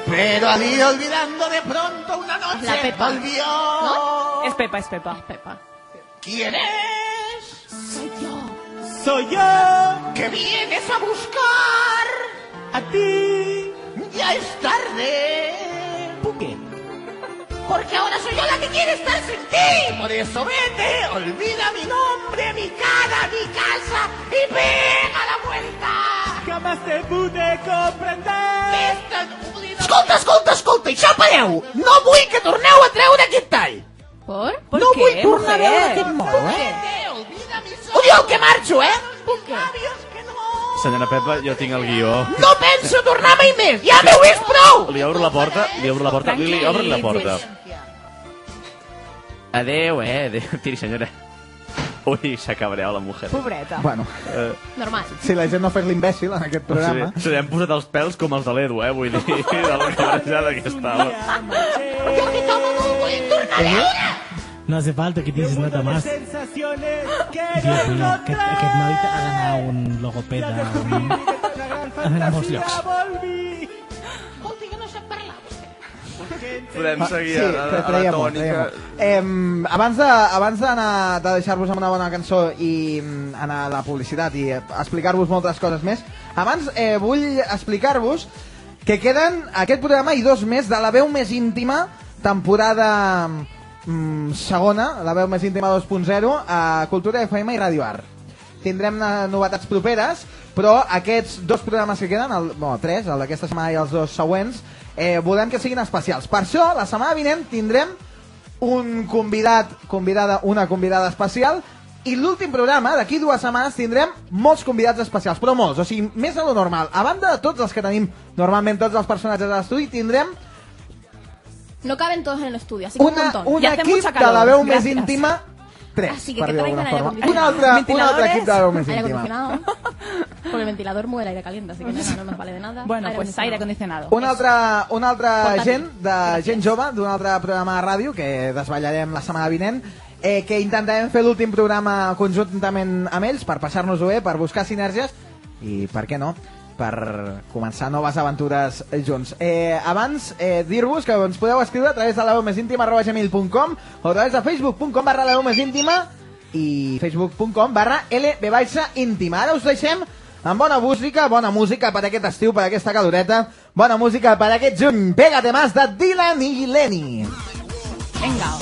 [SPEAKER 2] Pero al ir olvidando de pronto una noche
[SPEAKER 5] La Pepa.
[SPEAKER 2] volvió.
[SPEAKER 5] ¿No?
[SPEAKER 6] Es Pepa, es Pepa.
[SPEAKER 5] Pepa.
[SPEAKER 2] ¿Quién es?
[SPEAKER 5] Soy yo.
[SPEAKER 7] Soy yo,
[SPEAKER 2] ¿Que vienes a buscar?
[SPEAKER 7] a ti.
[SPEAKER 2] Ya es tarde.
[SPEAKER 7] ¿Por qué?
[SPEAKER 2] Porque ahora soy yo la que quiere estar sin ti. Por eso vete, olvida mi nombre, mi cara, mi casa y pega la vuelta.
[SPEAKER 7] Jamás te pude comprender.
[SPEAKER 2] Escolta, escolta, escolta, això pareu! No vull que torneu a treure aquest tall!
[SPEAKER 5] ¿Por?
[SPEAKER 6] ¿Por
[SPEAKER 2] no
[SPEAKER 6] qué,
[SPEAKER 2] vull tornar a veure
[SPEAKER 6] mujer?
[SPEAKER 2] aquest moro, eh? Oriol, que marxo, eh?
[SPEAKER 5] ¿Por qué?
[SPEAKER 4] Senyora Pepa, jo tinc el guió.
[SPEAKER 2] No penso tornar mai més! Ja m'heu vist prou!
[SPEAKER 4] Li obro la porta, li obro la porta, li, li obro la porta. Adeu, eh?
[SPEAKER 8] <laughs>
[SPEAKER 4] Adeu. Tiri, senyora. Ui, s'ha cabreat la mujer.
[SPEAKER 6] Pobreta.
[SPEAKER 2] Bueno,
[SPEAKER 5] Normal.
[SPEAKER 2] si la gent no fes l'imbècil en aquest programa...
[SPEAKER 4] Se li han posat els pèls com els de l'Edu, eh? Vull dir, de la cabrejada que estava.
[SPEAKER 7] No hace falta que dices nada más. Tio, bueno, aquest, aquest noi ha d'anar a un logopeda. a Un... <laughs> Ha d'anar a molts llocs.
[SPEAKER 8] Podem seguir
[SPEAKER 2] sí,
[SPEAKER 8] a, la- a la
[SPEAKER 2] traiem-ho,
[SPEAKER 8] tònica.
[SPEAKER 2] traiem-ho. Em, abans de, abans d'anar- de deixar-vos amb una bona cançó i mm, anar a la publicitat i eh, explicar-vos moltes coses més, abans eh, vull explicar-vos que queden aquest programa i dos més de la veu més íntima, temporada mm, segona, la veu més íntima 2.0, a Cultura FM i Radio Art tindrem eh, novetats properes, però aquests dos programes que queden, el, no, tres, el d'aquesta setmana i els dos següents, eh, volem que siguin especials. Per això, la setmana vinent tindrem un convidat, convidada, una convidada especial, i l'últim programa, d'aquí dues setmanes, tindrem molts convidats especials, però molts, o sigui, més de lo normal. A banda de tots els que tenim, normalment tots els personatges de l'estudi, tindrem
[SPEAKER 5] No caben todos en el estudio, así que un
[SPEAKER 2] una,
[SPEAKER 5] montón.
[SPEAKER 2] un
[SPEAKER 6] I hace
[SPEAKER 2] equip
[SPEAKER 6] mucha
[SPEAKER 2] de
[SPEAKER 6] calor.
[SPEAKER 2] la veu més
[SPEAKER 6] Gràcies. Ah,
[SPEAKER 2] íntima 3,
[SPEAKER 5] Así que
[SPEAKER 2] per dir-ho
[SPEAKER 5] que traigan
[SPEAKER 2] d'alguna
[SPEAKER 5] aire
[SPEAKER 2] forma. Un
[SPEAKER 5] acondicionado.
[SPEAKER 2] altre, un altre equip de la veu més
[SPEAKER 5] Aire
[SPEAKER 2] íntima.
[SPEAKER 5] acondicionado.
[SPEAKER 2] <laughs>
[SPEAKER 5] Porque el ventilador muere el aire caliente, así que nada, no nos vale de nada.
[SPEAKER 6] Bueno, pues aire acondicionado.
[SPEAKER 2] Una altra, una altra
[SPEAKER 5] Portàtil.
[SPEAKER 2] gent, de gent jove, d'un altre programa de ràdio, que desvetllarem la setmana vinent, eh, que intentarem fer l'últim programa conjuntament amb ells per passar-nos-ho bé, per buscar sinergies i, per què no, per començar noves aventures junts. Eh, abans, eh, dir-vos que ens podeu escriure a través de la veu més íntima arroba gmail.com o a través de facebook.com barra la veu més íntima i facebook.com barra lb baixa íntima. Ara us deixem amb bona música, bona música per aquest estiu, per aquesta caloreta, bona música per aquest juny. Pégate más de Dylan i Lenny.
[SPEAKER 6] Venga.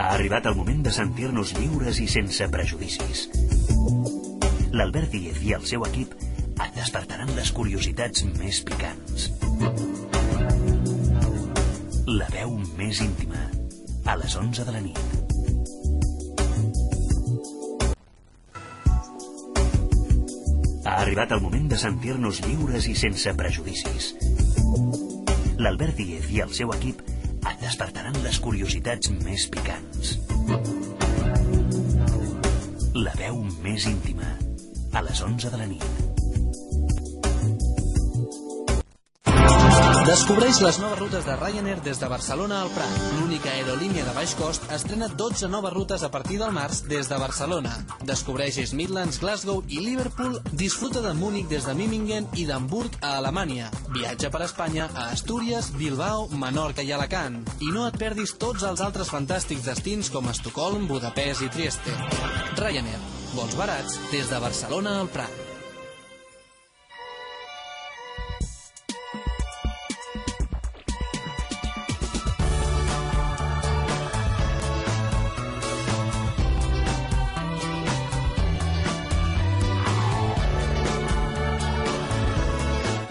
[SPEAKER 1] Ha arribat el moment de sentir-nos lliures i sense prejudicis. L'Albert Díez i el seu equip et despertaran les curiositats més picants. La veu més íntima, a les 11 de la nit. Ha arribat el moment de sentir-nos lliures i sense prejudicis. L'Albert Díez i el seu equip et despertaran les curiositats més picants. La veu més íntima, a les 11 de la nit.
[SPEAKER 10] Descobreix les noves rutes de Ryanair des de Barcelona al Prat. L'única aerolínia de baix cost estrena 12 noves rutes a partir del març des de Barcelona. Descobreix East Midlands, Glasgow i Liverpool. Disfruta de Múnich des de Mimingen i d'Hamburg a Alemanya. Viatja per Espanya a Astúries, Bilbao, Menorca i Alacant. I no et perdis tots els altres fantàstics destins com Estocolm, Budapest i Trieste. Ryanair. Vols barats des de Barcelona al Prat.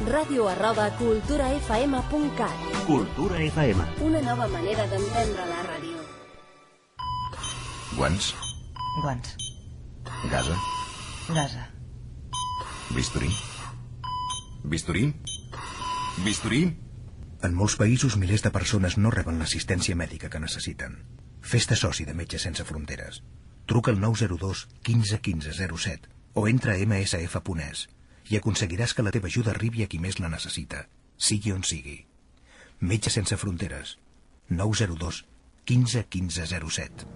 [SPEAKER 11] Ràdio arroba culturafm.cat
[SPEAKER 1] Cultura FM.
[SPEAKER 11] Una nova manera d'entendre la ràdio.
[SPEAKER 12] Guants,
[SPEAKER 13] Guants.
[SPEAKER 12] gasa,
[SPEAKER 13] Gasa.
[SPEAKER 12] bisturí. Bisturí? Bisturí? En molts països, milers de persones no reben l'assistència mèdica que necessiten. Fes-te soci de Metges Sense Fronteres. Truca al 902 15 15 07 o entra a msf.es i aconseguiràs que la teva ajuda arribi a qui més la necessita, sigui on sigui. Metges Sense Fronteres. 902 15 15 07.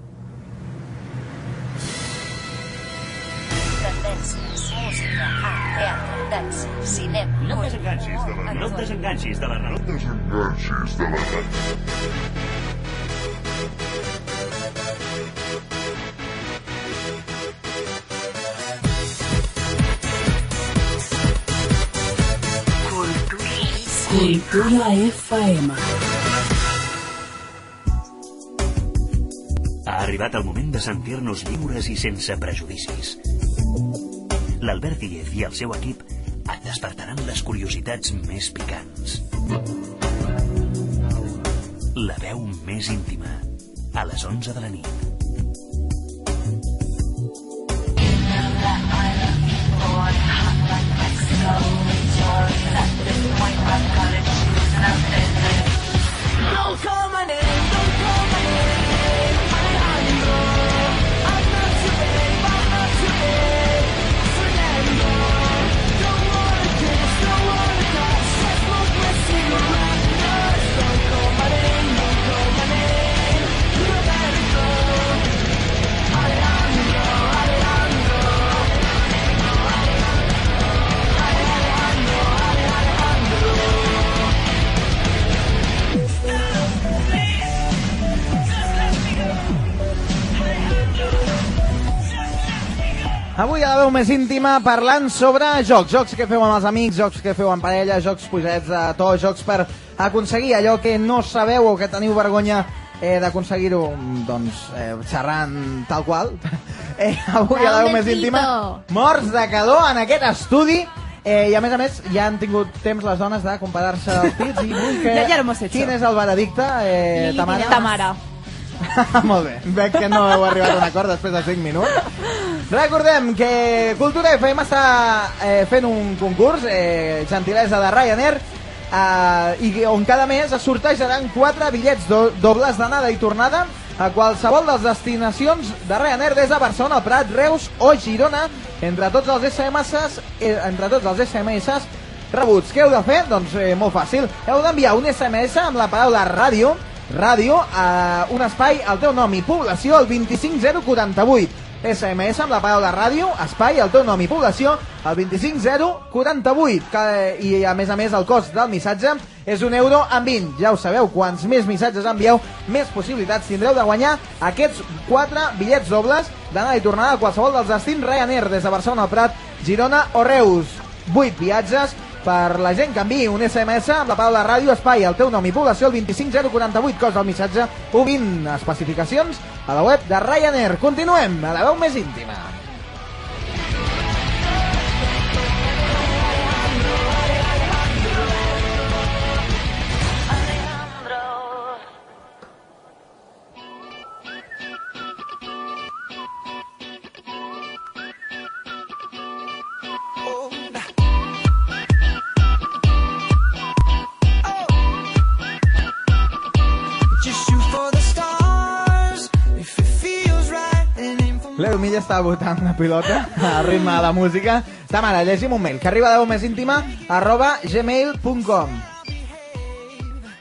[SPEAKER 14] Tendències, música, art, teatre, dansa, cinema...
[SPEAKER 1] No et desenganxis de la No et desenganxis de la ràdio. No et
[SPEAKER 3] desenganxis de la ràdio.
[SPEAKER 15] Cultura FM.
[SPEAKER 1] Ha arribat el moment de sentir-nos lliures i sense prejudicis. L'Albert Díez i el seu equip et despertaran les curiositats més picants. La veu més íntima, a les 11 de la nit.
[SPEAKER 3] Don't call my name, don't call my name. I am your. I'm not too big, I'm not too big. So let it go. Don't wanna kiss, don't wanna touch. Let's smoke my cigarette. Just Don't call my name, don't call my name. You let it go. I am your, I am your. I am your, I am your.
[SPEAKER 2] Avui a la veu més íntima parlant sobre jocs. Jocs que feu amb els amics, jocs que feu en parella, jocs pujats de to, jocs per aconseguir allò que no sabeu o que teniu vergonya eh, d'aconseguir-ho doncs, eh, xerrant tal qual. <laughs> Eh, avui a la veu més íntima morts de calor en aquest estudi eh, i a més a més ja han tingut temps les dones de comparar-se els pits i
[SPEAKER 6] <laughs>
[SPEAKER 2] vull que...
[SPEAKER 6] Ja, ya lo hemos hecho.
[SPEAKER 2] Quin és el veredicte, eh, Tamara?
[SPEAKER 6] Tamara.
[SPEAKER 2] <laughs> Molt bé, veig que no heu arribat a un acord després de 5 minuts. Recordem que Cultura FM està eh, fent un concurs, eh, gentilesa de Ryanair, eh, i on cada mes es sortejaran 4 bitllets do dobles d'anada i tornada a qualsevol de les destinacions de Ryanair des de Barcelona, Prat, Reus o Girona entre tots els SMS eh, entre tots els SMS rebuts. Què heu de fer? Doncs eh, molt fàcil. Heu d'enviar un SMS amb la paraula ràdio ràdio a un espai, el teu nom i població al 25048. SMS amb la paraula ràdio, espai, el teu nom i població al 25048. Que, I a més a més el cost del missatge és un euro amb 20. Ja ho sabeu, quants més missatges envieu, més possibilitats tindreu de guanyar aquests 4 bitllets dobles d'anada i tornada a qualsevol dels destins Ryanair des de Barcelona, el Prat, Girona o Reus. 8 viatges per la gent que enviï un SMS amb la paraula ràdio espai, el teu nom i població al 25048, cost del missatge, o 20 especificacions a la web de Ryanair. Continuem a la veu més íntima.
[SPEAKER 3] Just shoot for the stars if it feels right. And aim for
[SPEAKER 2] L'Edu Milla està votant una pilota al ritme de la música. Ta mare, llegim un mail, que arriba a la veu més íntima, arroba gmail.com.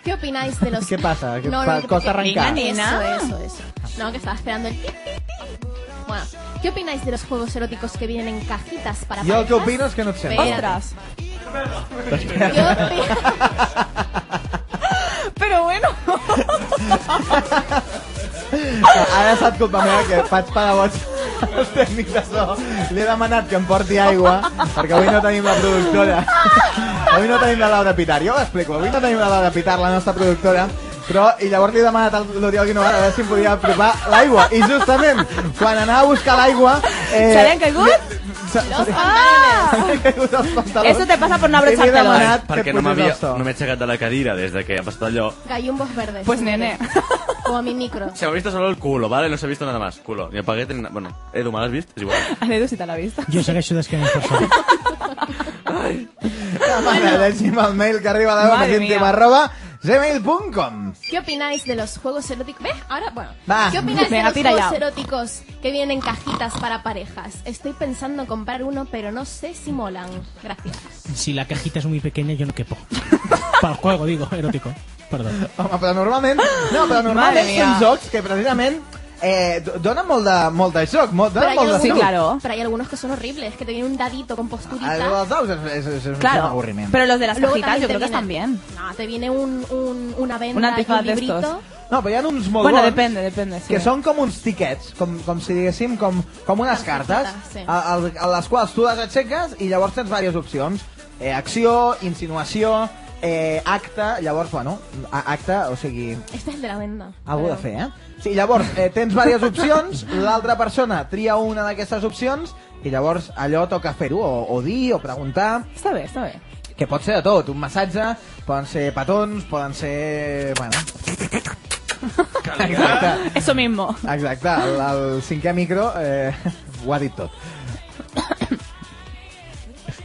[SPEAKER 5] ¿Qué opináis de los...
[SPEAKER 2] ¿Qué pasa? ¿Qué
[SPEAKER 5] No,
[SPEAKER 2] pa-
[SPEAKER 5] no, que-
[SPEAKER 2] costa
[SPEAKER 5] que-
[SPEAKER 2] arrancar?
[SPEAKER 5] Eso, eso, eso. No, que estaba esperando el... pi, pi, pi. Bueno, ¿qué opináis de los juegos eróticos que vienen en cajitas para
[SPEAKER 2] Jo el que
[SPEAKER 5] parejas?
[SPEAKER 2] opino és que no et sento.
[SPEAKER 6] Eh,
[SPEAKER 5] Espérate.
[SPEAKER 2] <laughs>
[SPEAKER 6] Pero bueno.
[SPEAKER 2] Ara ha estat culpa meva que faig pedagots als tècnics de so. Li he demanat que em porti aigua, perquè avui no tenim la productora. Avui no tenim la Laura Pitar, jo ho explico. Avui no tenim la Laura Pitar, la nostra productora, però, i llavors li he demanat al l'Oriol Guinovar a veure si em podia apropar l'aigua. I justament, quan anava a buscar l'aigua... eh,
[SPEAKER 6] ¿Se
[SPEAKER 2] <laughs>
[SPEAKER 6] le han caigut?
[SPEAKER 2] Se-
[SPEAKER 6] Ah!
[SPEAKER 2] se li han caigut els pantalons.
[SPEAKER 6] Eso te pasa por
[SPEAKER 2] I
[SPEAKER 6] no
[SPEAKER 2] li he
[SPEAKER 6] abrochártelos.
[SPEAKER 2] demanat que
[SPEAKER 8] Perquè no
[SPEAKER 2] posés
[SPEAKER 8] m'havia...
[SPEAKER 2] el so.
[SPEAKER 8] No m'he aixecat de la cadira des de que ha passat allò.
[SPEAKER 5] Gallumbos verdes.
[SPEAKER 6] Pues nene.
[SPEAKER 5] Como mi micro.
[SPEAKER 8] Se me ha visto solo el culo, ¿vale? No se ha visto nada más. Culo. Y apagué... ten- Bueno, Edu, ¿me lo has visto? Es igual.
[SPEAKER 6] Anedo si te la vista.
[SPEAKER 7] Jo segueixo d'esquena per això.
[SPEAKER 2] Demana, llegim el mail que arriba a la
[SPEAKER 5] Madre
[SPEAKER 2] web,
[SPEAKER 5] mía.
[SPEAKER 2] arroba gmail.com.
[SPEAKER 5] ¿Qué opináis de los juegos eróticos? ¿Ves? Ahora, bueno.
[SPEAKER 2] Va.
[SPEAKER 5] ¿Qué opináis de
[SPEAKER 2] Venga,
[SPEAKER 5] los
[SPEAKER 2] tira
[SPEAKER 5] juegos
[SPEAKER 2] ya.
[SPEAKER 5] eróticos que vienen en cajitas para parejas? Estoy pensando en comprar uno, pero no sé si molan. Gracias.
[SPEAKER 7] Si la cajita es muy pequeña, yo no quepo. Para el juego, digo, erótico. Perdón.
[SPEAKER 2] Home, però
[SPEAKER 6] <gasps>
[SPEAKER 2] normalment... No, però normalment
[SPEAKER 7] Madre mía.
[SPEAKER 2] són jocs que precisament eh, do- donen molt de, molt de joc, molt,
[SPEAKER 5] Pero
[SPEAKER 2] donen
[SPEAKER 5] hay,
[SPEAKER 2] molt de
[SPEAKER 5] algunos,
[SPEAKER 2] salut.
[SPEAKER 5] pero hay algunos que son horribles, que te viene un dadito con posturita.
[SPEAKER 2] Eh, El dels daus és, és, és, és
[SPEAKER 6] Claro,
[SPEAKER 2] un avorriment.
[SPEAKER 6] pero los de las
[SPEAKER 5] Luego
[SPEAKER 6] cajitas
[SPEAKER 5] también
[SPEAKER 6] yo creo que
[SPEAKER 5] te
[SPEAKER 6] están bien.
[SPEAKER 5] No, te viene un, un- una venda
[SPEAKER 6] Un
[SPEAKER 5] y un
[SPEAKER 6] antifaz de
[SPEAKER 5] librito.
[SPEAKER 6] estos.
[SPEAKER 2] No, però hi ha uns molt
[SPEAKER 6] Bueno,
[SPEAKER 2] bons
[SPEAKER 6] depende, depende. Sí.
[SPEAKER 2] que són com uns tiquets, com, com si diguéssim, com, com unes cartes,
[SPEAKER 6] sí.
[SPEAKER 2] a, a, a les quals tu les aixeques i llavors tens diverses opcions. Eh, acció, insinuació, eh, acte, llavors, bueno, a- acte, o sigui,
[SPEAKER 5] Este es el de la venda.
[SPEAKER 2] Algú de fer, eh? Sí, llavors, eh, tens diverses opcions, l'altra persona tria una d'aquestes opcions i llavors allò toca fer-ho, o, o dir, o preguntar,
[SPEAKER 6] Está bien, está bien.
[SPEAKER 2] que pot ser de tot, un massatge, poden ser petons, poden ser... Bueno,
[SPEAKER 6] <laughs> Eso mismo.
[SPEAKER 2] exacte, el, el cinquè micro eh, ho ha dit tot.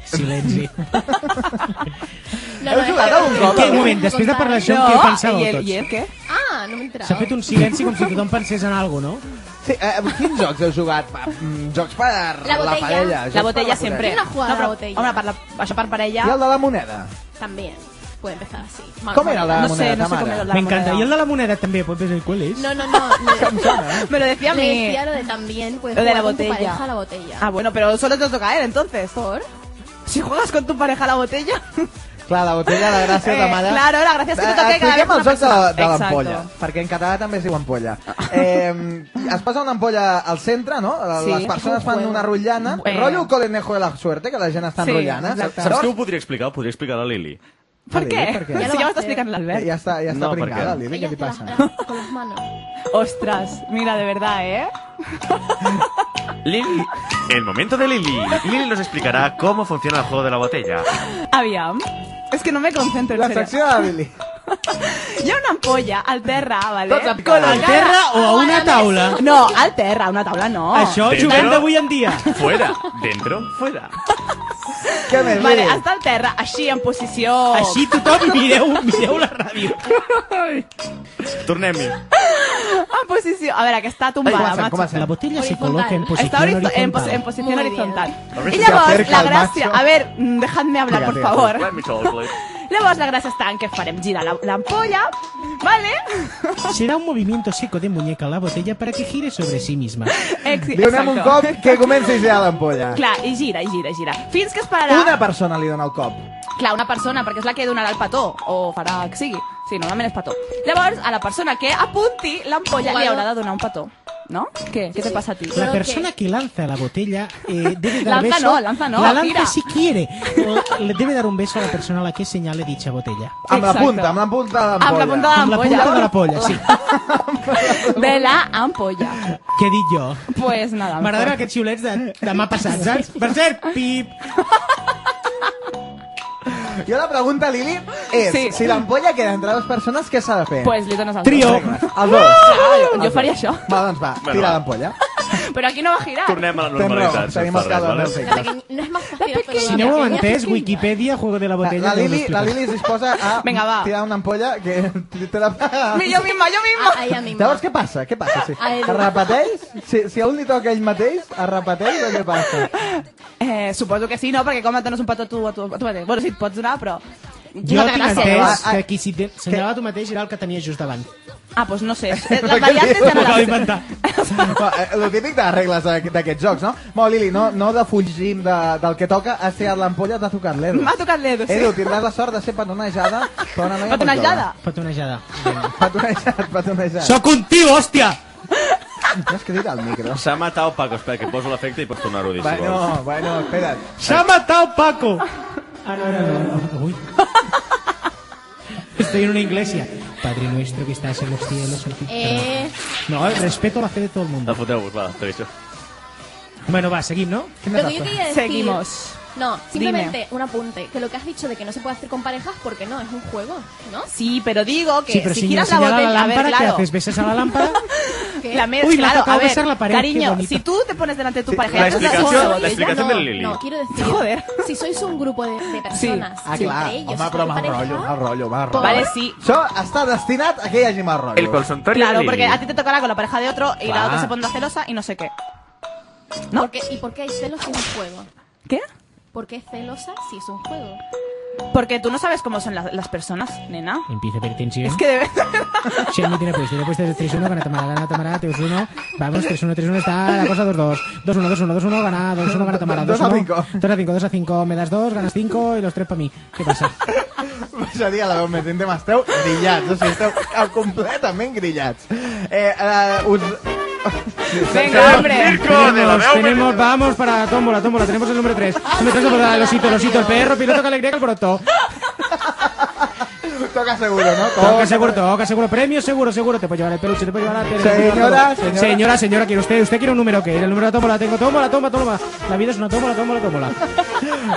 [SPEAKER 7] Silenci.
[SPEAKER 5] No, no,
[SPEAKER 2] Heu jugat algun cop?
[SPEAKER 7] Que, un moment, després de parlar això, què pensàveu
[SPEAKER 6] ¿Y el,
[SPEAKER 7] tots?
[SPEAKER 6] ¿Y el qué?
[SPEAKER 5] Ah, no me he enterado.
[SPEAKER 7] S'ha fet un silenci com si tothom pensés en alguna cosa, no?
[SPEAKER 2] Sí, eh, quins jocs heu jugat? Pa- mm, Jocs per la, parella. jocs
[SPEAKER 6] La
[SPEAKER 2] per
[SPEAKER 6] botella siempre.
[SPEAKER 5] Yo no he jugado a la
[SPEAKER 6] pero-
[SPEAKER 5] botella.
[SPEAKER 6] Hombre, para, la- això per parella...
[SPEAKER 2] I el de la moneda?
[SPEAKER 5] También. Puede empezar así.
[SPEAKER 2] Com era la
[SPEAKER 6] No sé,
[SPEAKER 2] moneda,
[SPEAKER 6] no sé com
[SPEAKER 2] Tamara?
[SPEAKER 6] era la
[SPEAKER 7] M'encanta. I el de la moneda també, pot ser qual és?
[SPEAKER 5] No, no, no. le-
[SPEAKER 6] Me lo decía a
[SPEAKER 5] le
[SPEAKER 6] mí.
[SPEAKER 5] decía lo de también. Puedes
[SPEAKER 6] Lo de la
[SPEAKER 5] jugar con tu
[SPEAKER 6] botella.
[SPEAKER 5] pareja a la botella.
[SPEAKER 2] <laughs>
[SPEAKER 6] Ah, bueno, pero solo te toca a él, entonces. ¿Por? Si juegas con tu pareja a la botella...
[SPEAKER 2] Clar, la botella de gràcia Eh,
[SPEAKER 6] Eh,
[SPEAKER 2] de mare...
[SPEAKER 6] claro, la gràcia és que te toque cada
[SPEAKER 2] Expliquem
[SPEAKER 6] vez
[SPEAKER 2] els
[SPEAKER 6] una
[SPEAKER 2] jocs de,
[SPEAKER 6] persona.
[SPEAKER 2] de
[SPEAKER 6] Exacto.
[SPEAKER 2] l'ampolla, perquè en català també es diu ampolla. Eh, es posa una ampolla al centre, no?
[SPEAKER 6] Sí.
[SPEAKER 2] Les persones fan una rotllana.
[SPEAKER 6] Eh.
[SPEAKER 2] Rollo colenejo de la suerte, que la gent està
[SPEAKER 6] Sí,
[SPEAKER 2] enrotllant. eh?
[SPEAKER 6] exacte.
[SPEAKER 8] Saps què ho podria explicar? Ho podria explicar la Lili.
[SPEAKER 6] Per què?
[SPEAKER 2] Per què?
[SPEAKER 6] Si ja m'està explicant l'Albert.
[SPEAKER 2] Eh, Ja està, ja està
[SPEAKER 8] No, per
[SPEAKER 2] pringada,
[SPEAKER 8] què?
[SPEAKER 2] Lili, què li passa?
[SPEAKER 5] Con las manos.
[SPEAKER 6] Ostras, mira, de verdad, ¿eh?
[SPEAKER 8] Lili, el momento de Lili. Lili nos explicará cómo funciona el juego de la botella.
[SPEAKER 6] Aviam. És que no me concentro, en
[SPEAKER 2] La
[SPEAKER 6] serio.
[SPEAKER 2] secció de la Lili.
[SPEAKER 6] Hi ha una ampolla al terra, vale?
[SPEAKER 7] Tots amb cola. Al terra
[SPEAKER 5] Ah,
[SPEAKER 7] o a una taula?
[SPEAKER 6] No, al terra, a una taula no.
[SPEAKER 2] Ah,
[SPEAKER 7] Això
[SPEAKER 8] Dentro.
[SPEAKER 7] juguem d'avui en dia.
[SPEAKER 8] Fuera, dentro, fuera.
[SPEAKER 2] Què més,
[SPEAKER 6] <laughs> Vale,
[SPEAKER 2] Lili?
[SPEAKER 6] està al terra, així, en posició...
[SPEAKER 7] Així tothom mireu, mireu la ràdio.
[SPEAKER 8] Tornem-hi.
[SPEAKER 6] En posició... A veure, que està tombada,
[SPEAKER 7] Comencem,
[SPEAKER 6] macho.
[SPEAKER 7] comencem. La botella se coloca en posició
[SPEAKER 6] Está horizo- en, pos-
[SPEAKER 7] horizontal.
[SPEAKER 6] en posición
[SPEAKER 5] Muy
[SPEAKER 6] horizontal.
[SPEAKER 7] A ver
[SPEAKER 6] Y
[SPEAKER 7] si se
[SPEAKER 6] llavors,
[SPEAKER 7] acerca
[SPEAKER 6] la
[SPEAKER 7] el
[SPEAKER 6] gràcia...
[SPEAKER 7] macho.
[SPEAKER 6] A ver, mm, dejadme hablar, por favor.
[SPEAKER 8] Let me talk, please.
[SPEAKER 6] Llavors, la gràcia està en que farem girar la- l'ampolla,
[SPEAKER 7] <laughs>
[SPEAKER 6] vale?
[SPEAKER 7] Será un movimiento seco de muñeca a la botella para que gire sobre sí misma.
[SPEAKER 6] Ex-
[SPEAKER 2] Li donem un
[SPEAKER 6] exacto.
[SPEAKER 2] cop que comenci a girar
[SPEAKER 6] <laughs>
[SPEAKER 2] l'ampolla.
[SPEAKER 6] Clar, i gira, i gira, i gira. Fins que es pararà...
[SPEAKER 2] Una persona li dona el cop.
[SPEAKER 6] Clar, una persona, perquè és la que donarà el petó, o farà que sigui. Sí, normalment és petó. Llavors, a la persona que apunti l'ampolla li
[SPEAKER 5] Jugador.
[SPEAKER 6] haurà de donar un petó. No? Què? Què te pasa a ti?
[SPEAKER 7] La persona que lanza la botella eh, debe dar
[SPEAKER 6] Lanza
[SPEAKER 7] beso.
[SPEAKER 6] no, lanza no,
[SPEAKER 7] La lanza
[SPEAKER 6] tira.
[SPEAKER 7] si quiere. O le debe dar un beso a la persona a la que señale dicha botella.
[SPEAKER 2] Amb la
[SPEAKER 6] Exacte.
[SPEAKER 2] punta, amb la punta de l'ampolla.
[SPEAKER 6] Amb la punta de
[SPEAKER 7] Amb la punta de la Ah, polla, sí.
[SPEAKER 6] De la ampolla.
[SPEAKER 7] Què he dit jo?
[SPEAKER 6] Pues nada.
[SPEAKER 7] M'agradarà aquests xiulets de demà passat, saps? Per cert, pip!
[SPEAKER 2] Jo la pregunta, Lili, és
[SPEAKER 6] Sí.
[SPEAKER 2] si l'ampolla queda entre dues persones, què s'ha de fer?
[SPEAKER 6] Pues li dones el
[SPEAKER 7] Trio.
[SPEAKER 2] Els dos.
[SPEAKER 6] jo- jo
[SPEAKER 2] Els
[SPEAKER 6] faria
[SPEAKER 2] dos.
[SPEAKER 6] això.
[SPEAKER 2] Va, doncs va,
[SPEAKER 8] Bueno,
[SPEAKER 2] tira
[SPEAKER 8] va.
[SPEAKER 2] l'ampolla.
[SPEAKER 6] Però aquí no va girar.
[SPEAKER 8] Tornem a la
[SPEAKER 2] Tens raó,
[SPEAKER 8] normalitat.
[SPEAKER 2] tenim
[SPEAKER 8] sense
[SPEAKER 2] els
[SPEAKER 8] res,
[SPEAKER 2] cables
[SPEAKER 8] vale?
[SPEAKER 2] del
[SPEAKER 5] La
[SPEAKER 2] segle.
[SPEAKER 5] peque- no es más fácil hacerlo
[SPEAKER 7] Si
[SPEAKER 5] la
[SPEAKER 7] no ho heu
[SPEAKER 5] pequeña.
[SPEAKER 7] entès, Wikipedia, Juego de la Botella...
[SPEAKER 2] La
[SPEAKER 7] no ho
[SPEAKER 2] Lili,
[SPEAKER 7] explica.
[SPEAKER 2] la Lili es disposa a
[SPEAKER 6] Vinga, va.
[SPEAKER 2] tirar una ampolla que te la...
[SPEAKER 6] Mi- Jo misma, jo
[SPEAKER 5] <laughs>
[SPEAKER 6] misma.
[SPEAKER 5] Ah, A ella misma.
[SPEAKER 2] Llavors, què passa? Què passa? Si,
[SPEAKER 5] A ell.
[SPEAKER 2] es repeteix? Si, si a un li toca ell mateix, es repeteix o què passa?
[SPEAKER 6] Eh, suposo que sí, no? Perquè com et dones un petó tu, a tu, a tu mateix? Bueno, sí, et pots donar, però...
[SPEAKER 7] Jo
[SPEAKER 6] no té
[SPEAKER 7] tinc
[SPEAKER 6] gràcia.
[SPEAKER 7] entès
[SPEAKER 2] Ah, ah.
[SPEAKER 7] que qui si te- senyalava tu mateix era el que tenia just davant.
[SPEAKER 6] Ah, doncs no sé. Eh, Les variantes
[SPEAKER 2] Què
[SPEAKER 6] ja no
[SPEAKER 2] dius?
[SPEAKER 6] les
[SPEAKER 7] Ho acabo
[SPEAKER 6] sé. <laughs>
[SPEAKER 7] d'inventar.
[SPEAKER 2] No, eh, Lo típic de les regles d'aqu- d'aquests jocs, no? Bueno, Lili, no, no defugim de, del que toca. Has tirat l'ampolla, t'ha tocat l'Edu.
[SPEAKER 6] M'ha tocat l'Edo, sí.
[SPEAKER 2] Edu, tindràs la sort de ser petonejada per una noia molt jove.
[SPEAKER 6] Petonejada.
[SPEAKER 7] Petonejada.
[SPEAKER 2] Petonejat, petonejat.
[SPEAKER 7] Sóc un tio, hòstia!
[SPEAKER 2] Tens que tirar el micro.
[SPEAKER 8] S'ha matat Paco, espera, que poso l'efecte i pots tornar-ho a dir, si vols.
[SPEAKER 2] Bueno, bueno, espera't.
[SPEAKER 7] S'ha matat Paco! Ah, no, no, no. no. Uy. <laughs> Estoy en una iglesia. Padre nuestro que estás en los cielos. santificado.
[SPEAKER 5] Eh,
[SPEAKER 7] No, eh, respeto la fe de todo el
[SPEAKER 8] La
[SPEAKER 7] mundo.
[SPEAKER 8] Ah, foteu-vos, va, t'aviso.
[SPEAKER 7] Bueno, va, seguim, no?
[SPEAKER 5] lo que yo quería decir...
[SPEAKER 6] Seguimos.
[SPEAKER 5] No, simplemente un apunte. Que lo que has dicho de que no se puede hacer con parejas porque no, es un juego, ¿no?
[SPEAKER 6] Sí, pero digo que
[SPEAKER 7] Sí, pero
[SPEAKER 6] si
[SPEAKER 7] si me
[SPEAKER 6] giras la
[SPEAKER 7] señala
[SPEAKER 6] botella,
[SPEAKER 7] la
[SPEAKER 6] a ver,
[SPEAKER 7] lámpara, ¿qué
[SPEAKER 6] claro.
[SPEAKER 7] haces? ¿Besas a la lámpara?
[SPEAKER 5] ¿Qué?
[SPEAKER 6] <laughs> La me-
[SPEAKER 7] Uy, me ha
[SPEAKER 6] claro,
[SPEAKER 7] tocado
[SPEAKER 6] a ver,
[SPEAKER 7] besar la pared, qué
[SPEAKER 6] cariño,
[SPEAKER 7] bonito.
[SPEAKER 6] si tú te pones delante de tu
[SPEAKER 2] Sí,
[SPEAKER 6] pareja,
[SPEAKER 8] la
[SPEAKER 6] y haces así,
[SPEAKER 8] explicación-
[SPEAKER 6] botella,
[SPEAKER 8] la explicación
[SPEAKER 5] no,
[SPEAKER 8] de Lili.
[SPEAKER 5] No, quiero decir,
[SPEAKER 6] Joder.
[SPEAKER 5] si sois un grupo de, de personas,
[SPEAKER 2] Ah,
[SPEAKER 5] si
[SPEAKER 2] clar,
[SPEAKER 5] entre ellos
[SPEAKER 2] home,
[SPEAKER 5] sois
[SPEAKER 2] però mal
[SPEAKER 5] pareja,
[SPEAKER 2] rotllo, mal rotllo, mal rotllo.
[SPEAKER 6] Vale, sí.
[SPEAKER 2] Això està destinat a que hi hagi mal rotllo.
[SPEAKER 8] consultorio
[SPEAKER 6] Claro, porque a ti te tocará con la pareja de otro y la
[SPEAKER 2] Ah.
[SPEAKER 6] otra se pondrá celosa y no sé qué. ¿No?
[SPEAKER 5] ¿por qué- ¿Y por qué hay celos si es un juego?
[SPEAKER 6] ¿Qué?
[SPEAKER 5] ¿Por qué celosa si es un juego?
[SPEAKER 6] Porque tú no sabes cómo son las, las personas, nena.
[SPEAKER 7] Empieza a haber tensión.
[SPEAKER 6] Es que de verdad. <laughs>
[SPEAKER 7] Sí, no tiene pues, tiene pues 3-1, gana Tamara, gana Tamara, 3-1, vamos, 3-1, 3-1, está la cosa 2-2, 2-1, 2-1, 2-1, gana, 2-1, gana Tamara, 2-1,
[SPEAKER 2] Dos a cinco.
[SPEAKER 7] 2-5, 2-5, me das 2, ganas 5 y los 3 para mí, ¿qué passa?
[SPEAKER 2] Seria la veu més íntima. Esteu grillats, o sigui, esteu completament grillats. Eh, eh, us...
[SPEAKER 6] Venga, hombre.
[SPEAKER 8] Circo de la
[SPEAKER 7] Tenemos,
[SPEAKER 8] veu.
[SPEAKER 7] tenemos, vamos para tómbola, tómbola, tenemos el número 3, número 3, tómbola, el osito, el osito, el perro, piloto, que alegría, que alboroto,
[SPEAKER 2] Toca seguro, no?
[SPEAKER 7] toca seguro, toca seguro, premio seguro, seguro, te puedo llevar el peluche, te puedo llevar el peluche.
[SPEAKER 2] Señora, señora.
[SPEAKER 7] Señora, señora, quiere usted, usted quiere un número, que el número de la tómbola, tengo tómbola, tómbola, tómbola, la vida es una tómbola, tómbola, tómbola.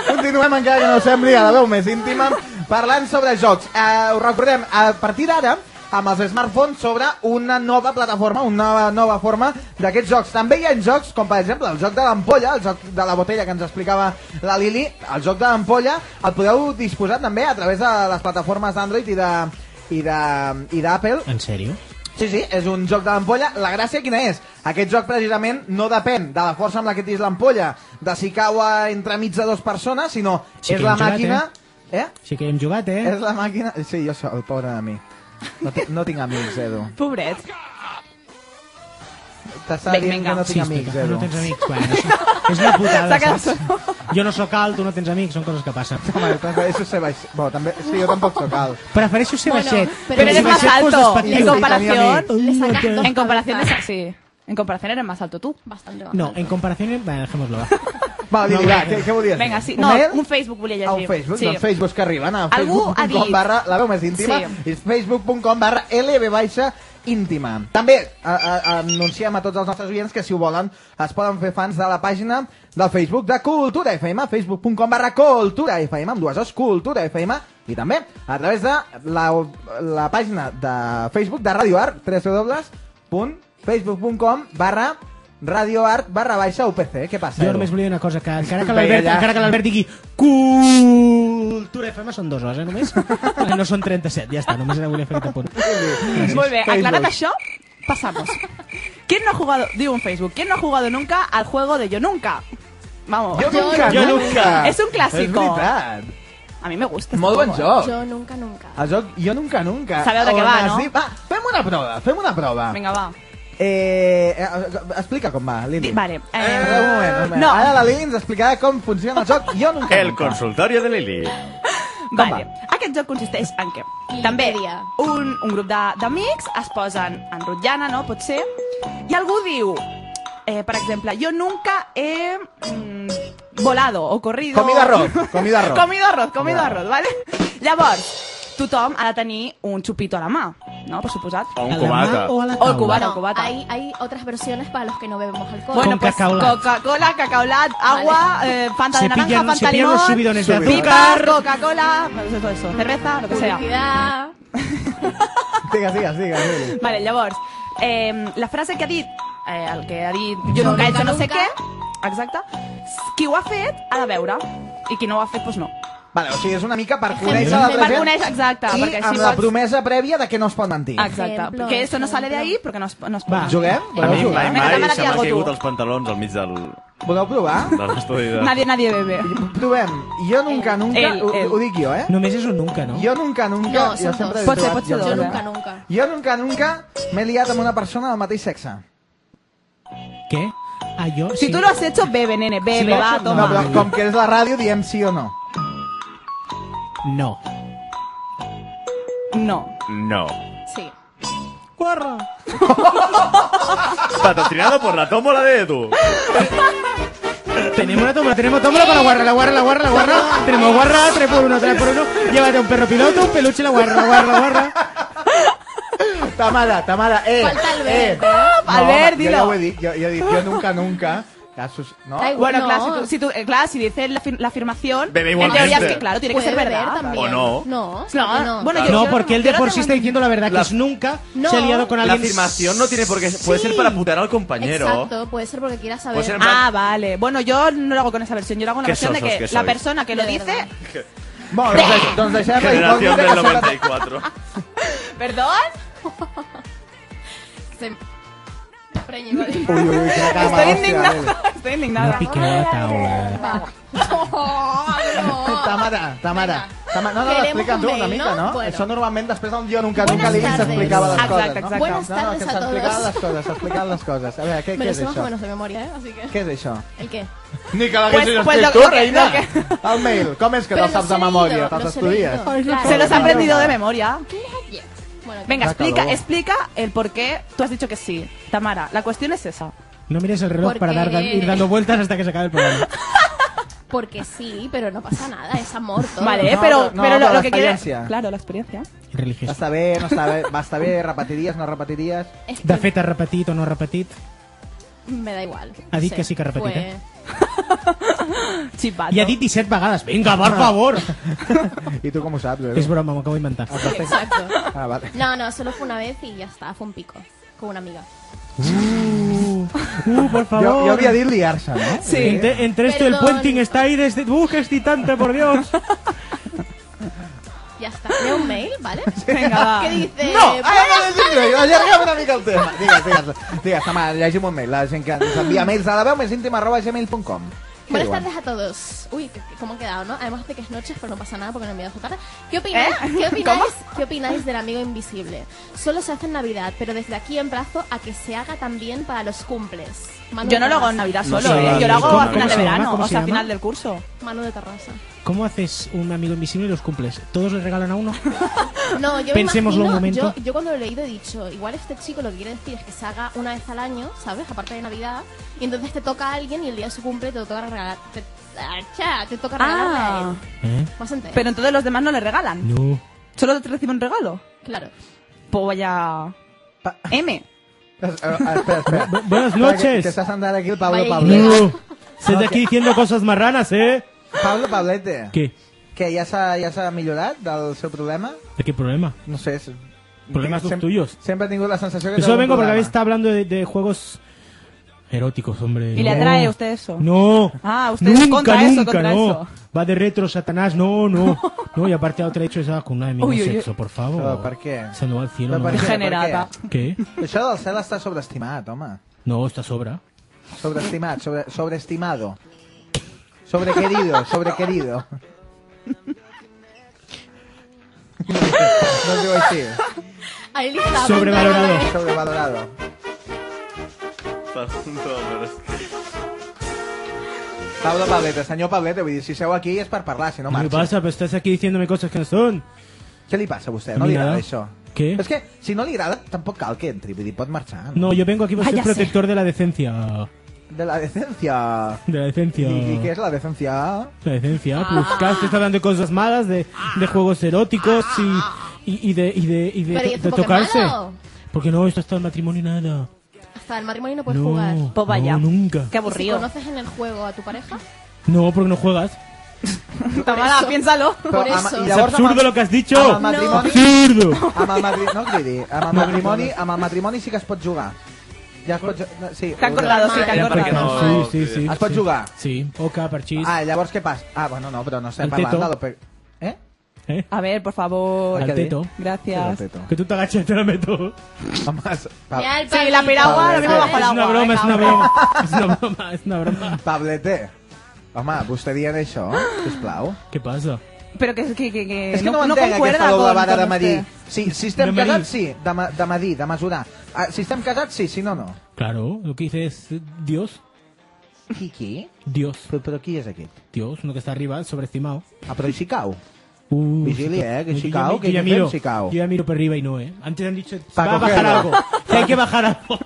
[SPEAKER 2] Continuem encara que no sembli a la veu més íntima parlant sobre jocs. Eh, us recordem, a partir d'ara, amb els smartphones sobre una nova plataforma, una nova, nova forma d'aquests jocs. També hi ha jocs com, per exemple, el joc de l'ampolla, el joc de la botella que ens explicava la Lili, el joc de l'ampolla el podeu disposar també a través de les plataformes d'Android i de i de- i d'Apple
[SPEAKER 7] ¿En serio?
[SPEAKER 2] Sí, sí, és un joc de l'ampolla. La gràcia quina és? Aquest joc precisament no depèn de la força amb la que tiris l'ampolla, de si cau a entremig de dues persones, sinó
[SPEAKER 7] Sí
[SPEAKER 2] és
[SPEAKER 7] que
[SPEAKER 2] la
[SPEAKER 7] hem jugat,
[SPEAKER 2] màquina... Eh?
[SPEAKER 7] Sí que hem jugat, eh?
[SPEAKER 2] És la màquina... Sí, jo sóc el pobre de mi. No, ti- no tinc amics, Edu.
[SPEAKER 6] Pobret.
[SPEAKER 2] T'està
[SPEAKER 6] Vinga,
[SPEAKER 2] dient que
[SPEAKER 6] vinga.
[SPEAKER 2] no tinc
[SPEAKER 7] explica.
[SPEAKER 2] amics,
[SPEAKER 7] Ah,
[SPEAKER 2] Edu.
[SPEAKER 7] No tens amics, bueno. És una putada,
[SPEAKER 2] S'ha quedat
[SPEAKER 7] saps? Jo no sóc alt, tu no tens amics, són coses que passen.
[SPEAKER 2] Home, prefereixo ser baix... Bueno, també... Sí, jo tampoc sóc alt.
[SPEAKER 7] Prefereixo ser
[SPEAKER 2] Bueno,
[SPEAKER 7] baixet.
[SPEAKER 2] però eres
[SPEAKER 7] si
[SPEAKER 2] más
[SPEAKER 7] baixet fos
[SPEAKER 2] alto,
[SPEAKER 7] despectiu.
[SPEAKER 2] en comparación-
[SPEAKER 7] Ai,
[SPEAKER 6] Le sacas
[SPEAKER 7] mate.
[SPEAKER 6] dos En comparación, de esa- sí. En comparación eres más alto tú. Bastante
[SPEAKER 7] No, en comparación... eh, Bueno, dejémoslo. Va,
[SPEAKER 2] Va, digui, va, què, què volies
[SPEAKER 6] Venga,
[SPEAKER 2] dir?
[SPEAKER 6] sí.
[SPEAKER 2] Un
[SPEAKER 6] No,
[SPEAKER 2] mail?
[SPEAKER 6] un Facebook volia llegir.
[SPEAKER 2] A un Facebook,
[SPEAKER 6] Sí.
[SPEAKER 2] doncs
[SPEAKER 6] <laughs>
[SPEAKER 2] Facebook que arriben a
[SPEAKER 6] Algú ha
[SPEAKER 2] facebook.com
[SPEAKER 6] dit.
[SPEAKER 2] barra la veu més íntima
[SPEAKER 6] Sí.
[SPEAKER 2] i facebook.com barra lb baixa íntima. També a, a, anunciem a tots els nostres oients que si ho volen es poden fer fans de la pàgina del Facebook de Cultura FM, facebook.com barra Cultura FM, amb dues os, Cultura FM, i també a través de la, la pàgina de Facebook de Radio Art, www.facebook.com barra radioart barra baixa UPC. Què passa?
[SPEAKER 7] Jo
[SPEAKER 2] Edu?
[SPEAKER 7] només volia dir una cosa, que encara que
[SPEAKER 2] Veia
[SPEAKER 7] l'Albert
[SPEAKER 2] allà.
[SPEAKER 7] encara que l'Albert digui Cultura FM són dos hores, eh, només? No són 37, ja està, només volia fer aquest apunt. Gràcies.
[SPEAKER 6] Molt bé, aclarat això, pasamos. ¿Quién no ha jugado, digo en Facebook, ¿quién no ha jugado nunca al juego de Yo Nunca? Vamos.
[SPEAKER 2] Yo nunca, Yo nunca. nunca.
[SPEAKER 6] Es un
[SPEAKER 2] És
[SPEAKER 6] clásico.
[SPEAKER 2] veritat.
[SPEAKER 6] a mi me gusta. este ¿eh?
[SPEAKER 2] Molt bon joc.
[SPEAKER 5] Yo nunca, nunca.
[SPEAKER 2] El joc Jo Nunca Nunca.
[SPEAKER 6] Sabeu de què
[SPEAKER 2] On
[SPEAKER 6] va,
[SPEAKER 2] es
[SPEAKER 6] no?
[SPEAKER 2] diu- Va, fem una prova, fem una prova.
[SPEAKER 6] Venga, va.
[SPEAKER 2] Eh, eh, eh, explica com va, Lili.
[SPEAKER 6] Di- vale, eh,
[SPEAKER 2] Eh, un moment, un moment.
[SPEAKER 6] no.
[SPEAKER 2] Ara la Lili ens explicarà com funciona el joc Jo Nunca
[SPEAKER 8] El
[SPEAKER 2] Nunca.
[SPEAKER 8] consultorio de Lili.
[SPEAKER 6] Vale. Aquest joc consisteix en què? També un, un grup de- d'amics es posen en rotllana, no? Pot ser. I algú diu, eh, per exemple, jo nunca he mm, volado o corrido...
[SPEAKER 2] Comido arroz, comido
[SPEAKER 6] <laughs>
[SPEAKER 2] arroz.
[SPEAKER 6] comido arroz, comido
[SPEAKER 2] Comido
[SPEAKER 6] arroz, vale? Llavors, tothom ha de tenir un xupito a la mà, no? Per suposat.
[SPEAKER 8] O un A la mà cubata. o a la
[SPEAKER 6] O el
[SPEAKER 8] taula.
[SPEAKER 6] cubata,
[SPEAKER 5] No,
[SPEAKER 6] el cubata.
[SPEAKER 5] Hay, hay otras versiones para los que no bebemos alcohol.
[SPEAKER 6] Bueno, pues Coca-Cola, cacaolat, agua, eh, Fanta
[SPEAKER 5] Se
[SPEAKER 6] de naranja,
[SPEAKER 5] pillan-
[SPEAKER 6] Fanta
[SPEAKER 5] se pillan
[SPEAKER 6] limón,
[SPEAKER 5] los subidones
[SPEAKER 7] de
[SPEAKER 6] pipas,
[SPEAKER 7] azúcar.
[SPEAKER 6] Coca-Cola, pues eso, eso, cerveza, lo que sea.
[SPEAKER 5] Publicidad.
[SPEAKER 2] Digues, digues, digues, Lili.
[SPEAKER 6] Vale, llavors, eh, la frase que ha dit, eh, el que ha dit jo
[SPEAKER 5] Jo
[SPEAKER 6] nunca
[SPEAKER 5] nunca,
[SPEAKER 6] he hecho no sé
[SPEAKER 5] nunca.
[SPEAKER 6] què, exacte, qui ho ha fet ha de veure, i qui no ho ha fet, doncs no.
[SPEAKER 2] Vale, o sigui, és una mica per
[SPEAKER 6] Per
[SPEAKER 2] conèixer l'altra gent
[SPEAKER 6] conèixer, exacte,
[SPEAKER 2] i
[SPEAKER 6] perquè així
[SPEAKER 2] amb la
[SPEAKER 6] pots-
[SPEAKER 2] promesa prèvia de que no es pot mentir.
[SPEAKER 6] Exacte, que eso no sale de ahí perquè no es, no es
[SPEAKER 2] Va. Juguem?
[SPEAKER 8] A
[SPEAKER 2] Voleu
[SPEAKER 8] mi
[SPEAKER 2] jugar?
[SPEAKER 8] mai,
[SPEAKER 2] Vinga, demana
[SPEAKER 8] mai se
[SPEAKER 2] aquí
[SPEAKER 8] m'han
[SPEAKER 2] algo,
[SPEAKER 8] caigut
[SPEAKER 2] tu.
[SPEAKER 8] els pantalons al mig del,
[SPEAKER 2] Voleu provar?
[SPEAKER 8] de l'estudi de...
[SPEAKER 6] Nadie, nadie bebe.
[SPEAKER 2] Provem. Jo nunca, nunca,
[SPEAKER 6] Ell,
[SPEAKER 2] ho,
[SPEAKER 6] ell.
[SPEAKER 2] ho dic jo, eh?
[SPEAKER 7] Només és un nunca, no?
[SPEAKER 2] Jo nunca, nunca...
[SPEAKER 6] No,
[SPEAKER 2] jo
[SPEAKER 6] són
[SPEAKER 2] sempre
[SPEAKER 6] dos.
[SPEAKER 2] he
[SPEAKER 6] Pot ser,
[SPEAKER 2] trobat
[SPEAKER 6] pot ser
[SPEAKER 2] jo
[SPEAKER 6] dos,
[SPEAKER 2] sempre.
[SPEAKER 6] eh?
[SPEAKER 5] nunca.
[SPEAKER 2] Jo nunca, nunca m'he liat amb una persona del mateix sexe.
[SPEAKER 7] Què? Ah, jo?
[SPEAKER 6] Si
[SPEAKER 7] sí.
[SPEAKER 6] tú lo has hecho, bebe, nene,
[SPEAKER 2] Si
[SPEAKER 6] bebe,
[SPEAKER 2] no,
[SPEAKER 6] va,
[SPEAKER 2] No,
[SPEAKER 6] toma.
[SPEAKER 2] però com que és la ràdio, diem sí o no.
[SPEAKER 7] No.
[SPEAKER 6] No.
[SPEAKER 8] No.
[SPEAKER 5] Sí.
[SPEAKER 7] Guarra.
[SPEAKER 8] Patrocinado por la tómbola de Edu.
[SPEAKER 7] Tenemos una tómbola, tenemos tómbola para la guarra, la guarra, la guarra, la guarra. Tenemos guarra, 3 por 1, 3 por 1. Llévate un perro piloto, un peluche, la guarra, la guarra, la guarra.
[SPEAKER 2] Tamara, Tamara, eh.
[SPEAKER 5] Falta Albert,
[SPEAKER 2] eh.
[SPEAKER 5] eh?
[SPEAKER 6] Albert,
[SPEAKER 2] home, Jo ja
[SPEAKER 6] dilo.
[SPEAKER 2] ho he dit, jo, jo he dit, jo nunca, nunca. Casos, no?
[SPEAKER 5] Da igual,
[SPEAKER 6] Bueno,
[SPEAKER 5] no.
[SPEAKER 6] claro, si, tú, si tú- eh, claro, si dices la, afir- la afirmación,
[SPEAKER 8] Bebe
[SPEAKER 6] en teoría
[SPEAKER 8] igualmente.
[SPEAKER 6] es que, claro, tiene
[SPEAKER 5] Puede
[SPEAKER 6] que ser
[SPEAKER 5] beber
[SPEAKER 6] verdad.
[SPEAKER 5] también.
[SPEAKER 8] O no.
[SPEAKER 5] No.
[SPEAKER 6] No,
[SPEAKER 5] no.
[SPEAKER 6] bueno, yo,
[SPEAKER 7] No,
[SPEAKER 6] yo-
[SPEAKER 7] porque él
[SPEAKER 6] yo
[SPEAKER 7] de
[SPEAKER 6] no
[SPEAKER 7] por
[SPEAKER 6] tengo
[SPEAKER 7] sí está diciendo la verdad, que es nunca
[SPEAKER 5] No.
[SPEAKER 7] se ha liado con
[SPEAKER 8] La
[SPEAKER 7] alguien.
[SPEAKER 8] afirmación no tiene por qué... Puede ser
[SPEAKER 5] Sí.
[SPEAKER 8] para putear al compañero.
[SPEAKER 5] Exacto, puede ser porque quieras saber.
[SPEAKER 8] Puede ser en plan-
[SPEAKER 6] Ah, vale. Bueno, yo no lo hago con esa versión. Yo lo hago con la
[SPEAKER 8] Qué
[SPEAKER 6] versión de
[SPEAKER 8] sosos
[SPEAKER 6] que,
[SPEAKER 8] que
[SPEAKER 6] la
[SPEAKER 8] sois.
[SPEAKER 6] persona que lo
[SPEAKER 5] De
[SPEAKER 6] dice.
[SPEAKER 2] Molt bé, doncs, doncs deixem la
[SPEAKER 8] Generación
[SPEAKER 2] incògnita
[SPEAKER 8] del
[SPEAKER 2] que s'ha de...
[SPEAKER 8] <laughs> 94.
[SPEAKER 6] ¿Perdón?
[SPEAKER 5] Ah, Se... Preñe,
[SPEAKER 7] <laughs>
[SPEAKER 5] vale.
[SPEAKER 2] Ui,
[SPEAKER 5] <laughs>
[SPEAKER 2] ui, ui, quina cama, hòstia,
[SPEAKER 6] Estoy indignada. <laughs> Estoy indignada.
[SPEAKER 5] Oh,
[SPEAKER 2] Eh, Tamara, Tamara. Tamara, no, no,
[SPEAKER 5] Queremos
[SPEAKER 2] l'explica
[SPEAKER 5] un
[SPEAKER 2] tu una
[SPEAKER 5] mail,
[SPEAKER 2] mica, no?
[SPEAKER 5] no? Bueno.
[SPEAKER 2] Això normalment després d'un jo nunca,
[SPEAKER 5] Buenas
[SPEAKER 2] nunca li
[SPEAKER 5] tardes.
[SPEAKER 2] s'explicava les
[SPEAKER 5] Exacte,
[SPEAKER 2] coses, no?
[SPEAKER 5] exacte. Buenas
[SPEAKER 2] No, no,
[SPEAKER 5] tardes
[SPEAKER 2] que
[SPEAKER 5] a
[SPEAKER 2] s'explicaven
[SPEAKER 5] todos.
[SPEAKER 2] les coses, s'explicaven les coses. A veure, què,
[SPEAKER 5] Me
[SPEAKER 2] què
[SPEAKER 5] lo
[SPEAKER 2] és
[SPEAKER 5] sé más o
[SPEAKER 2] això?
[SPEAKER 5] menos de memoria, ¿eh? Así que...
[SPEAKER 2] Què és això?
[SPEAKER 5] ¿El qué?
[SPEAKER 2] Ni que
[SPEAKER 6] Pues-
[SPEAKER 2] l'haguessis
[SPEAKER 6] pues lo-
[SPEAKER 2] escrit tu,
[SPEAKER 6] lo que-
[SPEAKER 2] reina! <laughs>
[SPEAKER 6] lo
[SPEAKER 2] El mail, com és que
[SPEAKER 5] Però
[SPEAKER 2] te'l saps
[SPEAKER 5] los
[SPEAKER 2] de
[SPEAKER 5] he
[SPEAKER 2] memòria?
[SPEAKER 5] leído,
[SPEAKER 2] Te'ls
[SPEAKER 5] los he
[SPEAKER 2] estudies?
[SPEAKER 5] leído, claro.
[SPEAKER 6] Se los ha aprendido de memoria.
[SPEAKER 5] Bueno, pues ¿qué?
[SPEAKER 6] Venga,
[SPEAKER 7] Da
[SPEAKER 6] explica,
[SPEAKER 7] calor.
[SPEAKER 6] explica el por qué tú has dicho que sí. Tamara, la cuestión es esa.
[SPEAKER 7] No mires el reloj
[SPEAKER 5] Porque-
[SPEAKER 7] para dar, ir dando vueltas hasta que se acabe el programa.
[SPEAKER 5] Porque sí, pero no pasa nada, es amor todo.
[SPEAKER 6] Vale, eh,
[SPEAKER 2] No,
[SPEAKER 6] pero,
[SPEAKER 2] no,
[SPEAKER 6] pero
[SPEAKER 2] pero
[SPEAKER 6] lo,
[SPEAKER 2] la
[SPEAKER 6] lo que quieres.
[SPEAKER 2] experiencia.
[SPEAKER 6] Claro, la experiencia.
[SPEAKER 2] Va estar bé, no està bé, va estar bé, repetiries, no repetiries...
[SPEAKER 7] De fet, ha repetit o no ha repetit?
[SPEAKER 5] Me da igual.
[SPEAKER 7] Ha dit que sí que ha repetit, eh?
[SPEAKER 6] Chipato.
[SPEAKER 7] I ha dit 17 vegades. Vinga, per favor!
[SPEAKER 2] I tu com ho saps,
[SPEAKER 7] És
[SPEAKER 2] eh?
[SPEAKER 7] broma, m'ho acabo d'inventar.
[SPEAKER 5] Fue- Exacto.
[SPEAKER 2] Ah, vale.
[SPEAKER 5] No, no, solo fue una vez y ya está, fue un pico. Con una amiga.
[SPEAKER 7] Uh, uh, por
[SPEAKER 2] Jo,
[SPEAKER 7] favor.
[SPEAKER 2] jo havia dit liar-se, no?
[SPEAKER 7] Sí. Entre, entre esto y el
[SPEAKER 5] Perdón.
[SPEAKER 7] puenting está ahí desde... Uh, qué excitante, por Dios.
[SPEAKER 5] Ya
[SPEAKER 6] <laughs>
[SPEAKER 5] está. Leo un mail, ¿vale?
[SPEAKER 6] Venga, va.
[SPEAKER 5] Que dice.
[SPEAKER 2] No,
[SPEAKER 5] "Buenas
[SPEAKER 6] Ah.
[SPEAKER 2] ara no
[SPEAKER 5] tardes".
[SPEAKER 2] llegim mail, allarguem una mica el tema. Digues, digues, digues, Tamara, llegim un mail, la gent que ens envia mails a la veu més íntima arroba gmail.com.
[SPEAKER 5] Buenas
[SPEAKER 2] igual.
[SPEAKER 5] tardes a todos. Uy, que- que- cómo han quedado, ¿no? Además de que es noche, pero no pasa nada porque no he enviado tarde. ¿Qué opináis,
[SPEAKER 6] ¿Eh? <laughs>
[SPEAKER 5] ¿qué, opináis,
[SPEAKER 6] ¿Cómo?
[SPEAKER 5] ¿Qué opináis del amigo invisible? Solo se hace en Navidad, pero desde aquí emplazo a que se haga también para los cumples. Manu
[SPEAKER 6] Yo no
[SPEAKER 5] de
[SPEAKER 6] lo hago en
[SPEAKER 5] Terrassa.
[SPEAKER 6] Navidad
[SPEAKER 7] No
[SPEAKER 6] solo,
[SPEAKER 7] sé,
[SPEAKER 6] ¿eh? Yo lo hago
[SPEAKER 7] ¿cómo-
[SPEAKER 6] a
[SPEAKER 7] cómo
[SPEAKER 6] final de
[SPEAKER 7] se llama?
[SPEAKER 6] verano,
[SPEAKER 7] ¿Cómo
[SPEAKER 6] o
[SPEAKER 7] se
[SPEAKER 6] sea, a
[SPEAKER 7] llama?
[SPEAKER 6] final del curso.
[SPEAKER 5] Manu de Terrassa.
[SPEAKER 7] ¿Cómo haces un amigo invisible y los cumples? ¿Todos les regalan a uno? <laughs>
[SPEAKER 5] No, yo me
[SPEAKER 7] Pensémoslo un
[SPEAKER 5] imagino-
[SPEAKER 7] momento.
[SPEAKER 5] Yo, yo cuando lo he leído he dicho, igual este chico lo que quiere decir es que se haga una vez al año, ¿sabes? Aparte de Navidad. Y entonces te toca a alguien y el día de su cumple te lo toca regalar. Te, ¡Acha! te toca regalarle a él.
[SPEAKER 6] Ah,
[SPEAKER 5] Más entero.
[SPEAKER 6] pero entonces los demás no le regalan.
[SPEAKER 7] ¿Eh? No.
[SPEAKER 6] Solo te reciben un regalo.
[SPEAKER 5] Claro.
[SPEAKER 6] Pues vaya... M.
[SPEAKER 7] buenas
[SPEAKER 2] eh, Espera, que-
[SPEAKER 7] noches.
[SPEAKER 2] Que estás andando aquí el Pablo
[SPEAKER 6] Vaya
[SPEAKER 2] Pablete.
[SPEAKER 7] No. Estàs aquí diciendo cosas marranas, ¿eh?
[SPEAKER 2] Pablo Pablete.
[SPEAKER 7] Què?
[SPEAKER 2] Que ja s'ha ja s'ha millorat del seu problema?
[SPEAKER 7] ¿De qué problema?
[SPEAKER 2] No sé. és-
[SPEAKER 7] Problemas los
[SPEAKER 2] Sem-
[SPEAKER 7] tuyos. Pues
[SPEAKER 2] Sempre he tingut la sensació que
[SPEAKER 7] Yo
[SPEAKER 2] té
[SPEAKER 7] solo
[SPEAKER 2] algun
[SPEAKER 7] vengo porque
[SPEAKER 2] problema.
[SPEAKER 7] habéis estado hablando de, de juegos eróticos, hombre.
[SPEAKER 6] ¿Y le
[SPEAKER 7] No.
[SPEAKER 6] atrae a usted eso?
[SPEAKER 7] No.
[SPEAKER 6] Ah, usted es
[SPEAKER 7] nunca,
[SPEAKER 6] contra eso,
[SPEAKER 7] nunca,
[SPEAKER 6] contra
[SPEAKER 7] no.
[SPEAKER 6] eso.
[SPEAKER 7] Va de retro, Satanás,
[SPEAKER 6] <laughs>
[SPEAKER 7] no, no. No, y aparte a otra he hecho esa vacuna de mi
[SPEAKER 6] Uy, uy, uy.
[SPEAKER 7] sexo, por favor.
[SPEAKER 2] Però per què?
[SPEAKER 7] Se no va al cielo.
[SPEAKER 2] Però
[SPEAKER 7] No.
[SPEAKER 2] per què? Degenerada.
[SPEAKER 7] <laughs> ¿Qué?
[SPEAKER 2] Això del cel està sobreestimat, home.
[SPEAKER 7] No, está sobra.
[SPEAKER 2] Sobreestimat, sobre, sobreestimado. Sobrequerido, sobrequerido. No es diu així.
[SPEAKER 5] Ahí lista.
[SPEAKER 2] Sobrevalorado. Pablo Pablete, senyor Pablete, vull dir, si seu aquí és per parlar, si no
[SPEAKER 7] ¿Qué
[SPEAKER 2] marxa.
[SPEAKER 7] pasa? Pero estás aquí diciéndome cosas que no son.
[SPEAKER 2] Què li passa a vostè?
[SPEAKER 7] A
[SPEAKER 2] No
[SPEAKER 7] mi
[SPEAKER 2] li agrada
[SPEAKER 7] nada.
[SPEAKER 2] això.
[SPEAKER 7] Què?
[SPEAKER 2] És que si no li agrada, tampoc cal que entri, vull dir, pot marxar.
[SPEAKER 7] No, yo vengo aquí por ser
[SPEAKER 2] Váyase.
[SPEAKER 7] protector de la decencia.
[SPEAKER 2] De la decencia.
[SPEAKER 7] De la decencia.
[SPEAKER 2] I, i què és la decencia?
[SPEAKER 7] La decencia, pues claro, usted está hablando de cosas malas, de, de juegos eróticos y, y, y de, y de, y de,
[SPEAKER 5] Pero ¿y
[SPEAKER 7] de
[SPEAKER 5] eso por qué
[SPEAKER 7] tocarse.
[SPEAKER 5] malo?
[SPEAKER 7] Porque no, esto está el matrimonio y nada.
[SPEAKER 5] Hasta el matrimonio no puedes
[SPEAKER 7] No,
[SPEAKER 5] jugar.
[SPEAKER 7] Pues vaya. no, nunca.
[SPEAKER 5] ¿Y
[SPEAKER 7] Qué aburrido.
[SPEAKER 5] Si conoces en el juego a tu pareja,
[SPEAKER 7] No, porque no juegas.
[SPEAKER 6] Tamara, piénsalo.
[SPEAKER 5] Por Però, eso.
[SPEAKER 2] ama-
[SPEAKER 7] Es
[SPEAKER 2] llavors
[SPEAKER 7] absurdo
[SPEAKER 2] amb el-
[SPEAKER 7] lo que has dicho.
[SPEAKER 6] Ah,
[SPEAKER 2] amb el matrimoni-
[SPEAKER 6] <laughs>
[SPEAKER 7] Absurdo.
[SPEAKER 2] Amb el matrimoni, no cridi, amb el
[SPEAKER 7] No,
[SPEAKER 2] matrimoni,
[SPEAKER 7] no,
[SPEAKER 2] amb el matrimoni sí que es pot jugar. Ja es pot... ju- no, Sí,
[SPEAKER 6] T'han corrado, sí, t'han
[SPEAKER 2] Ja,
[SPEAKER 6] corrado.
[SPEAKER 2] perquè
[SPEAKER 7] Sí, sí, sí.
[SPEAKER 2] Es pot
[SPEAKER 7] sí.
[SPEAKER 2] jugar?
[SPEAKER 7] Sí, poca, parchís.
[SPEAKER 2] Ah, llavors què passa? Ah, bueno, no, però no estem
[SPEAKER 7] El
[SPEAKER 2] parlant
[SPEAKER 7] teto.
[SPEAKER 2] de... l'oper- Eh?
[SPEAKER 6] A ver, por favor.
[SPEAKER 7] Al teto.
[SPEAKER 6] Gracias.
[SPEAKER 7] Que tú te agachas y te la meto.
[SPEAKER 2] Ah.
[SPEAKER 5] Mira el
[SPEAKER 6] Sí, la
[SPEAKER 5] palito.
[SPEAKER 6] piragua, lo mismo bajo el
[SPEAKER 7] Es una
[SPEAKER 6] agua.
[SPEAKER 7] broma, es una
[SPEAKER 6] venga.
[SPEAKER 7] broma. Es una broma, es una broma.
[SPEAKER 2] Pablete. Home, vostè dient això, sisplau.
[SPEAKER 7] ¿Qué pasa?
[SPEAKER 6] Però que, que, que, que
[SPEAKER 2] És que no, no entenc aquesta doble vara de medir. Sí, si estem
[SPEAKER 7] De medir.
[SPEAKER 2] casats, sí, de, ma- de medir, de mesurar. Ah, si estem casats, sí, si no, no.
[SPEAKER 7] Claro, lo que dice es eh, Dios.
[SPEAKER 2] Qui, qui?
[SPEAKER 7] Dios.
[SPEAKER 2] Però, però qui és aquest?
[SPEAKER 7] Dios, uno que está arriba, sobreestimado.
[SPEAKER 2] Ah, però i si cau?
[SPEAKER 7] Uh,
[SPEAKER 2] Vigili, eh, que
[SPEAKER 7] yo
[SPEAKER 2] si
[SPEAKER 7] ya
[SPEAKER 2] cau,
[SPEAKER 7] mi-
[SPEAKER 2] que
[SPEAKER 7] yo ya
[SPEAKER 2] què fem
[SPEAKER 7] miro,
[SPEAKER 2] si cau?
[SPEAKER 7] Yo ya miro para arriba y no, eh. Antes han dicho,
[SPEAKER 2] Pa'
[SPEAKER 7] va a bajar
[SPEAKER 2] cogerlo.
[SPEAKER 7] algo. <laughs> Que hay que bajar algo.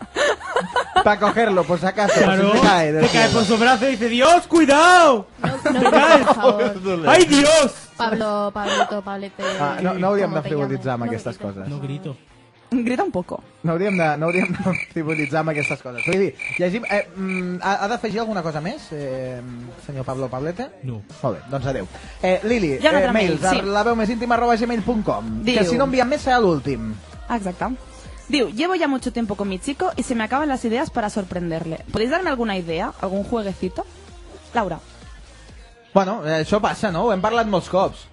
[SPEAKER 2] Para cogerlo, por si acaso,
[SPEAKER 7] Claro,
[SPEAKER 2] por si se cae. del
[SPEAKER 7] te cae
[SPEAKER 2] cielo.
[SPEAKER 7] por su brazo y dice, Dios, cuidado.
[SPEAKER 5] no,
[SPEAKER 7] te
[SPEAKER 5] no,
[SPEAKER 7] caes.
[SPEAKER 5] por favor.
[SPEAKER 7] ¡Ay, Dios!
[SPEAKER 5] Pablo, Pablito, Pablete.
[SPEAKER 2] Ah, no, no hauríem de
[SPEAKER 5] com te
[SPEAKER 2] frivolitzar amb
[SPEAKER 5] llames.
[SPEAKER 2] aquestes coses.
[SPEAKER 7] No grito.
[SPEAKER 6] Grita un poco.
[SPEAKER 2] No hauríem de, no hauríem de frivolitzar amb aquestes coses. Vull dir, llegim... Eh, mm, ha, ha d'afegir alguna cosa més, eh, senyor Pablo Pablete?
[SPEAKER 7] No.
[SPEAKER 2] Molt bé, doncs adeu. Eh, Lili,
[SPEAKER 6] Hi ha un
[SPEAKER 2] eh,
[SPEAKER 6] altre
[SPEAKER 2] mails,
[SPEAKER 6] mail, sí.
[SPEAKER 2] la veu més íntima arroba gmail.com. Que
[SPEAKER 6] Diu.
[SPEAKER 2] si no enviem més serà l'últim.
[SPEAKER 6] Ah, Exacto. Diu, llevo ya mucho tiempo con mi chico y se me acaban las ideas para sorprenderle. ¿Podéis darme alguna idea? ¿Algún jueguecito? Laura.
[SPEAKER 2] Bueno, eh, això passa, no? Ho hem parlat molts cops.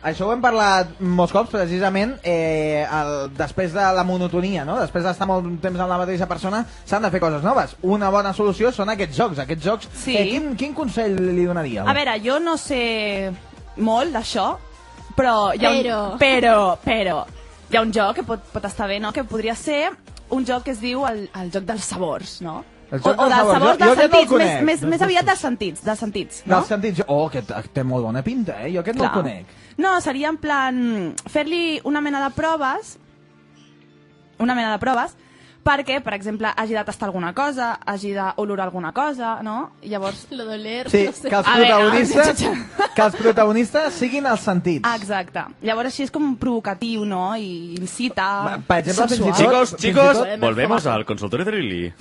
[SPEAKER 2] Això ho hem parlat molts cops, precisament, eh, el, després de la monotonia, no? Després d'estar molt temps amb la mateixa persona, s'han de fer coses noves. Una bona solució són aquests jocs. Aquests jocs...
[SPEAKER 6] Sí.
[SPEAKER 2] Eh, quin, quin consell li donaríeu?
[SPEAKER 6] A veure, jo no sé molt d'això, però... Hi ha
[SPEAKER 5] Però.
[SPEAKER 6] Un, però, però, hi ha un joc que pot, pot estar bé, no? Que podria ser un joc que es diu el, el joc dels sabors, no?
[SPEAKER 2] El joc dels
[SPEAKER 6] o, o dels
[SPEAKER 2] sabors.
[SPEAKER 6] sabors
[SPEAKER 2] Jo- jo aquest no el
[SPEAKER 6] dels sentits, més,
[SPEAKER 2] conec.
[SPEAKER 6] més,
[SPEAKER 2] Dels
[SPEAKER 6] més aviat dels sentits, dels sentits,
[SPEAKER 2] No?
[SPEAKER 6] no?
[SPEAKER 2] Dels sentits... Oh, que t- té molt bona pinta, eh? Jo aquest no el
[SPEAKER 6] Clar.
[SPEAKER 2] conec.
[SPEAKER 6] No, seria en plan fer-li una mena de proves, una mena de proves, perquè, per exemple, hagi de tastar alguna cosa, hagi d'olorar alguna cosa, no? I Llavors...
[SPEAKER 5] Lo doler,
[SPEAKER 2] Sí,
[SPEAKER 5] no sé.
[SPEAKER 2] que els
[SPEAKER 6] A veure,
[SPEAKER 2] protagonistes,
[SPEAKER 6] <laughs>
[SPEAKER 2] que els protagonistes siguin els sentits.
[SPEAKER 6] ah, Exacte. Llavors així és com provocatiu, no? I incita...
[SPEAKER 2] Per exemple, fins i tot-
[SPEAKER 8] Chicos,
[SPEAKER 2] fins i
[SPEAKER 8] chicos,
[SPEAKER 2] tot-
[SPEAKER 8] volvemos al consultorio de Lili.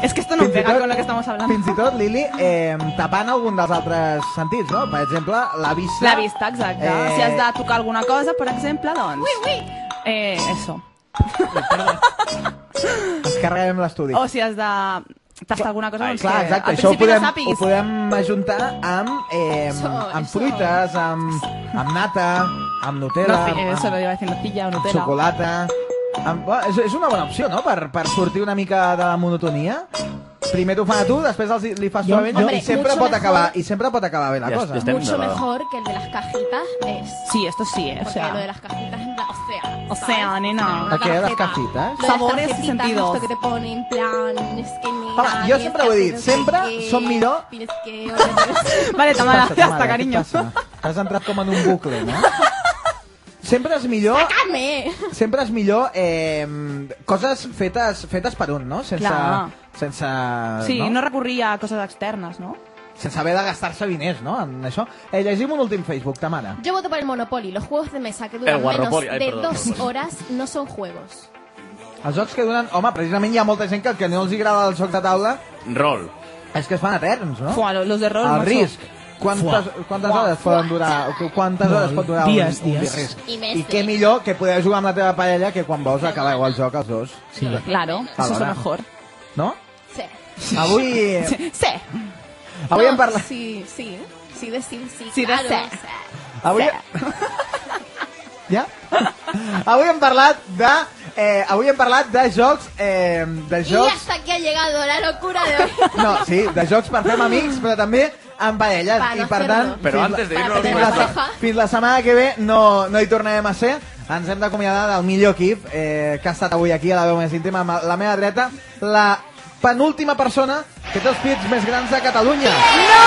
[SPEAKER 6] Es que esto no
[SPEAKER 2] Fins i
[SPEAKER 6] pega
[SPEAKER 2] tot-
[SPEAKER 6] con lo que estamos hablando.
[SPEAKER 2] Fins i tot, Lili, eh, tapant algun dels altres sentits, no? Per exemple, la vista.
[SPEAKER 6] La vista, exacte.
[SPEAKER 2] Eh,
[SPEAKER 6] Si has de tocar alguna cosa, per exemple, doncs... Ui, ui! Eh, eso.
[SPEAKER 2] Ens carreguem l'estudi.
[SPEAKER 6] O si has de tastar alguna cosa, doncs
[SPEAKER 2] Clar,
[SPEAKER 6] que
[SPEAKER 2] exacte,
[SPEAKER 6] al
[SPEAKER 2] això ho
[SPEAKER 6] principi
[SPEAKER 2] podem,
[SPEAKER 6] no
[SPEAKER 2] ho
[SPEAKER 6] sàpiguis.
[SPEAKER 2] podem ajuntar amb, eh,
[SPEAKER 6] Eso,
[SPEAKER 2] amb
[SPEAKER 6] eso.
[SPEAKER 2] fruites, amb, amb nata, amb Nutella,
[SPEAKER 6] No, eso lo
[SPEAKER 2] amb,
[SPEAKER 6] iba a decir, nocilla o
[SPEAKER 2] amb
[SPEAKER 6] Nutella.
[SPEAKER 2] xocolata... Amb, bueno, és, és una bona opció, no?, per, per sortir una mica de la monotonia. Primer t'ho fan a tu, després els, li fas tu
[SPEAKER 5] Jo-
[SPEAKER 2] a ella
[SPEAKER 5] jo-
[SPEAKER 2] i sempre
[SPEAKER 5] Mucho
[SPEAKER 2] pot
[SPEAKER 5] mejor.
[SPEAKER 2] acabar i sempre pot acabar bé la
[SPEAKER 5] Ya-
[SPEAKER 2] cosa.
[SPEAKER 5] ya está Mucho mejor que el de las cajitas es.
[SPEAKER 6] Sí, esto sí, eh, o
[SPEAKER 5] Porque
[SPEAKER 6] sea.
[SPEAKER 5] lo de las cajitas es la- o sea.
[SPEAKER 6] O sea, nena.
[SPEAKER 2] ¿A qué? ¿Las cajitas?
[SPEAKER 5] Lo de las
[SPEAKER 6] Sabores y
[SPEAKER 5] tarjetitas,
[SPEAKER 6] sentidos.
[SPEAKER 5] Esto que te pone en plan, es que mira,
[SPEAKER 2] Home, jo
[SPEAKER 5] tienes
[SPEAKER 2] sempre
[SPEAKER 5] que
[SPEAKER 2] ho he
[SPEAKER 5] hacer
[SPEAKER 2] dit,
[SPEAKER 5] no sé
[SPEAKER 2] sempre
[SPEAKER 5] qué,
[SPEAKER 2] som millor.
[SPEAKER 5] tienes que oler-
[SPEAKER 6] <laughs> Vale,
[SPEAKER 2] Què
[SPEAKER 6] Tamara,
[SPEAKER 2] passa,
[SPEAKER 6] ja
[SPEAKER 2] Tamara?
[SPEAKER 6] està,
[SPEAKER 2] Què
[SPEAKER 6] carinyo.
[SPEAKER 2] passa? Has entrat com en un bucle, no? Sempre és millor...
[SPEAKER 5] Sacadme!
[SPEAKER 2] Sempre és millor eh, coses fetes, fetes per un, no? Sense,
[SPEAKER 6] Clar.
[SPEAKER 2] sense,
[SPEAKER 6] Sí,
[SPEAKER 2] no?
[SPEAKER 6] no recorria a coses externes, no?
[SPEAKER 2] sense haver de gastar-se diners, no? En això. Eh, llegim un últim Facebook, ta mare.
[SPEAKER 5] Yo voto por el Monopoly. Los juegos de mesa que duran
[SPEAKER 2] El
[SPEAKER 5] menos
[SPEAKER 2] Guarropoli,
[SPEAKER 5] de
[SPEAKER 2] ay, perdón,
[SPEAKER 5] dos
[SPEAKER 2] Monopoly.
[SPEAKER 5] horas no son juegos.
[SPEAKER 2] Els jocs que donen... Home, precisament hi ha molta gent que el que no els agrada el joc de taula
[SPEAKER 8] Rol.
[SPEAKER 2] és que es fan eterns, no?
[SPEAKER 6] Fuà, los de rol,
[SPEAKER 2] El
[SPEAKER 6] macho.
[SPEAKER 2] risc. Quantes,
[SPEAKER 6] Fuà.
[SPEAKER 2] quantes
[SPEAKER 6] Fuà.
[SPEAKER 2] hores poden durar? Quantes
[SPEAKER 6] Molt.
[SPEAKER 2] hores pot durar
[SPEAKER 6] Dies,
[SPEAKER 2] un, un
[SPEAKER 6] dies.
[SPEAKER 2] risc?
[SPEAKER 6] I més
[SPEAKER 2] I què millor que poder jugar amb la teva parella que quan vols acabar el joc els dos. Sí.
[SPEAKER 6] Claro, eso es lo
[SPEAKER 2] Alhora. <laughs>
[SPEAKER 6] mejor.
[SPEAKER 2] No?
[SPEAKER 5] Sí.
[SPEAKER 2] Avui,
[SPEAKER 6] Sí.
[SPEAKER 2] avui
[SPEAKER 5] No,
[SPEAKER 2] hem parlat...
[SPEAKER 5] Sí, sí. Sí, decir sí,
[SPEAKER 6] Sí, de
[SPEAKER 5] claro.
[SPEAKER 6] ser.
[SPEAKER 5] o sea,
[SPEAKER 2] Avui... Ja? Avui hem parlat de... Eh, avui hem parlat de jocs... Eh, de
[SPEAKER 5] Y
[SPEAKER 2] jocs...
[SPEAKER 5] hasta aquí ha llegado la locura de
[SPEAKER 2] <laughs>
[SPEAKER 5] hoy.
[SPEAKER 2] No, sí, de jocs per fer amb amics, però també amb parelles.
[SPEAKER 5] Pa no
[SPEAKER 2] I per tant,
[SPEAKER 5] hacerlo. Pero
[SPEAKER 2] fins
[SPEAKER 5] antes de
[SPEAKER 2] la-
[SPEAKER 5] irnos a
[SPEAKER 2] fins
[SPEAKER 5] la
[SPEAKER 2] la,
[SPEAKER 5] pareja.
[SPEAKER 2] se- fins la setmana que ve no, no hi tornarem a ser. Ens hem d'acomiadar del millor equip eh, que ha estat avui aquí a la veu més íntima, amb la meva dreta, la penúltima persona que té els pits més grans de Catalunya. No!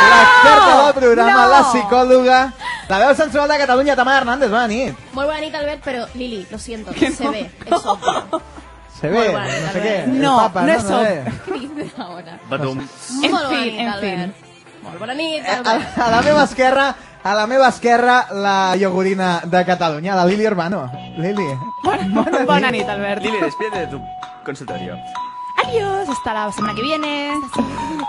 [SPEAKER 2] L'experta del programa,
[SPEAKER 5] No!
[SPEAKER 2] la psicòloga, la veu sensual de Catalunya, Tamara Hernández. Bona nit.
[SPEAKER 5] Muy bonita Albert, pero Lili, lo siento, se
[SPEAKER 6] <laughs>
[SPEAKER 5] ve. Es obvio. <laughs>
[SPEAKER 2] Se ve,
[SPEAKER 5] bona nit,
[SPEAKER 2] no sé què.
[SPEAKER 5] Albert.
[SPEAKER 2] el
[SPEAKER 5] No,
[SPEAKER 2] papa,
[SPEAKER 5] no
[SPEAKER 2] no,
[SPEAKER 5] és
[SPEAKER 2] no, sé.
[SPEAKER 5] ¿Qué dices ahora?
[SPEAKER 8] Batum.
[SPEAKER 5] Muy
[SPEAKER 6] En
[SPEAKER 5] bonita,
[SPEAKER 6] fin, Eh, ah, en
[SPEAKER 5] Albert. Muy bonita,
[SPEAKER 2] A,
[SPEAKER 5] Albert.
[SPEAKER 2] a la meva esquerra, a la meva esquerra, la iogurina de Catalunya, la Lili Urbano. Lili.
[SPEAKER 6] <laughs> Bona, bona nit, Albert.
[SPEAKER 8] Lili, despídete de tu consultorio.
[SPEAKER 6] Adiós, hasta la semana que viene.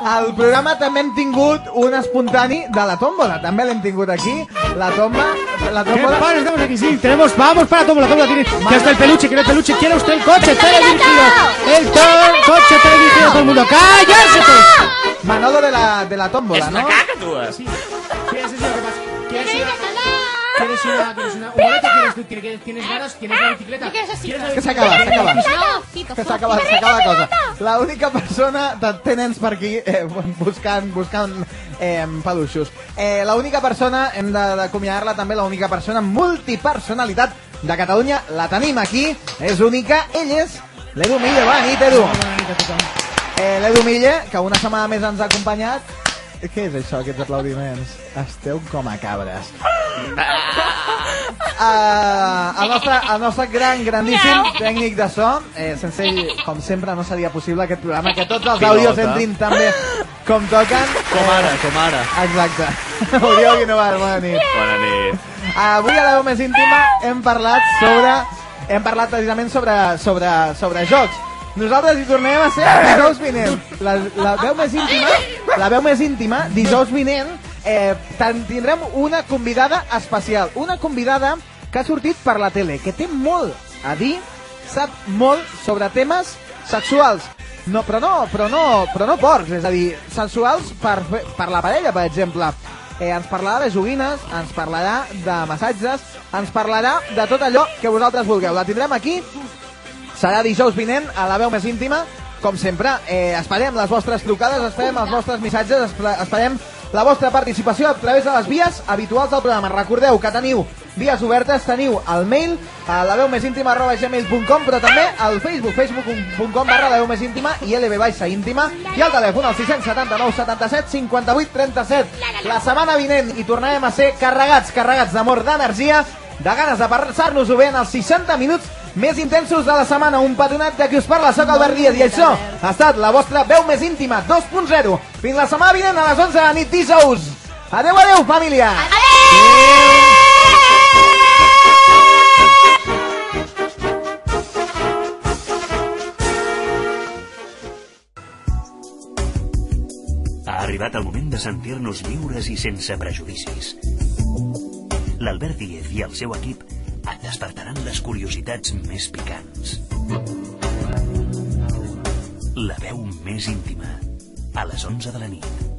[SPEAKER 2] Al programa també hem tingut un espontani de la tómbola. També l'hem tingut aquí. La tomba... La
[SPEAKER 7] ¿Qué
[SPEAKER 2] tómbola...
[SPEAKER 7] padre, estamos aquí, sí, tenemos, vamos para todo, la tómbola tiene, ya está el peluche, quiere el peluche, quiere usted el coche, teledirigido, el to- coche teledirigido, todo el mundo, pues! ¡cállense todos!
[SPEAKER 2] Manolo de la, de la tómbola,
[SPEAKER 7] Es
[SPEAKER 2] ¿no?
[SPEAKER 7] una
[SPEAKER 8] caca, tú.
[SPEAKER 7] ¿Quieres decir lo que pasa? ¿Quieres ir a- ¿Quieres ir a- quieres una- un boleto? ¿Quieres tú- ¿Quieres tienes ganas? ¿Tienes la bicicleta? ¿Quieres la
[SPEAKER 2] Que
[SPEAKER 7] bicicleta?
[SPEAKER 2] s'acaba, s'acaba.
[SPEAKER 5] Fito,
[SPEAKER 2] Que s'acaba,
[SPEAKER 5] Fito.
[SPEAKER 2] s'acaba la cosa. L'única persona... de- Té nens per aquí eh, buscant, buscant eh, peluixos. Eh, l'única persona, hem de- d'acomiadar-la també, l'única persona amb multipersonalitat de Catalunya, la tenim aquí, és única, ell és l'Edu Mille. Bona nit, Edu. Eh, L'Edu Mille, que una setmana més ens ha acompanyat. Què és això, aquests aplaudiments? Esteu com a cabres. Ah, el, nostre, el nostre gran, grandíssim tècnic de so. Eh, sense ell, com sempre, no seria possible aquest programa, que tots els
[SPEAKER 8] Pilota.
[SPEAKER 2] àudios entrin tan bé com toquen. Eh,
[SPEAKER 8] Com ara, com ara.
[SPEAKER 2] Exacte. <laughs> Oriol Guinovar, bona nit.
[SPEAKER 8] Bona nit.
[SPEAKER 2] Avui a la veu més íntima hem parlat sobre... Hem parlat precisament sobre, sobre, sobre jocs. Nosaltres hi tornem a ser dijous vinent. La, la veu més íntima, la veu més íntima, dijous vinent, eh, ten- tindrem una convidada especial. Una convidada que ha sortit per la tele, que té molt a dir, sap molt sobre temes sexuals. No, però no, però no, però no porcs, és a dir, sensuals per, fer- per la parella, per exemple. Eh, ens parlarà de joguines, ens parlarà de massatges, ens parlarà de tot allò que vosaltres vulgueu. La tindrem aquí, serà dijous vinent a la veu més íntima, com sempre. Eh, esperem les vostres trucades, esperem els vostres missatges, espe- esperem la vostra participació a través de les vies habituals del programa. Recordeu que teniu vies obertes, teniu el mail a la veu més íntima arroba gmail.com però també al Facebook, facebook.com barra la veu més íntima i lb baixa íntima i al telèfon al 679 77 58 37 la setmana vinent i tornarem a ser carregats, carregats d'amor, d'energia de ganes de passar-nos-ho bé en els 60 minuts més intensos de la setmana. Un petonat de qui us parla, soc Albert Díaz i això ha estat la vostra veu més íntima 2.0. Fins la setmana vinent a les 11 de la nit dijous. Adeu, adeu, família!
[SPEAKER 1] Ha arribat el moment de sentir-nos lliures i sense prejudicis. L'Albert Díez i el seu equip et despertaran les curiositats més picants. La veu més íntima, a les 11 de la nit.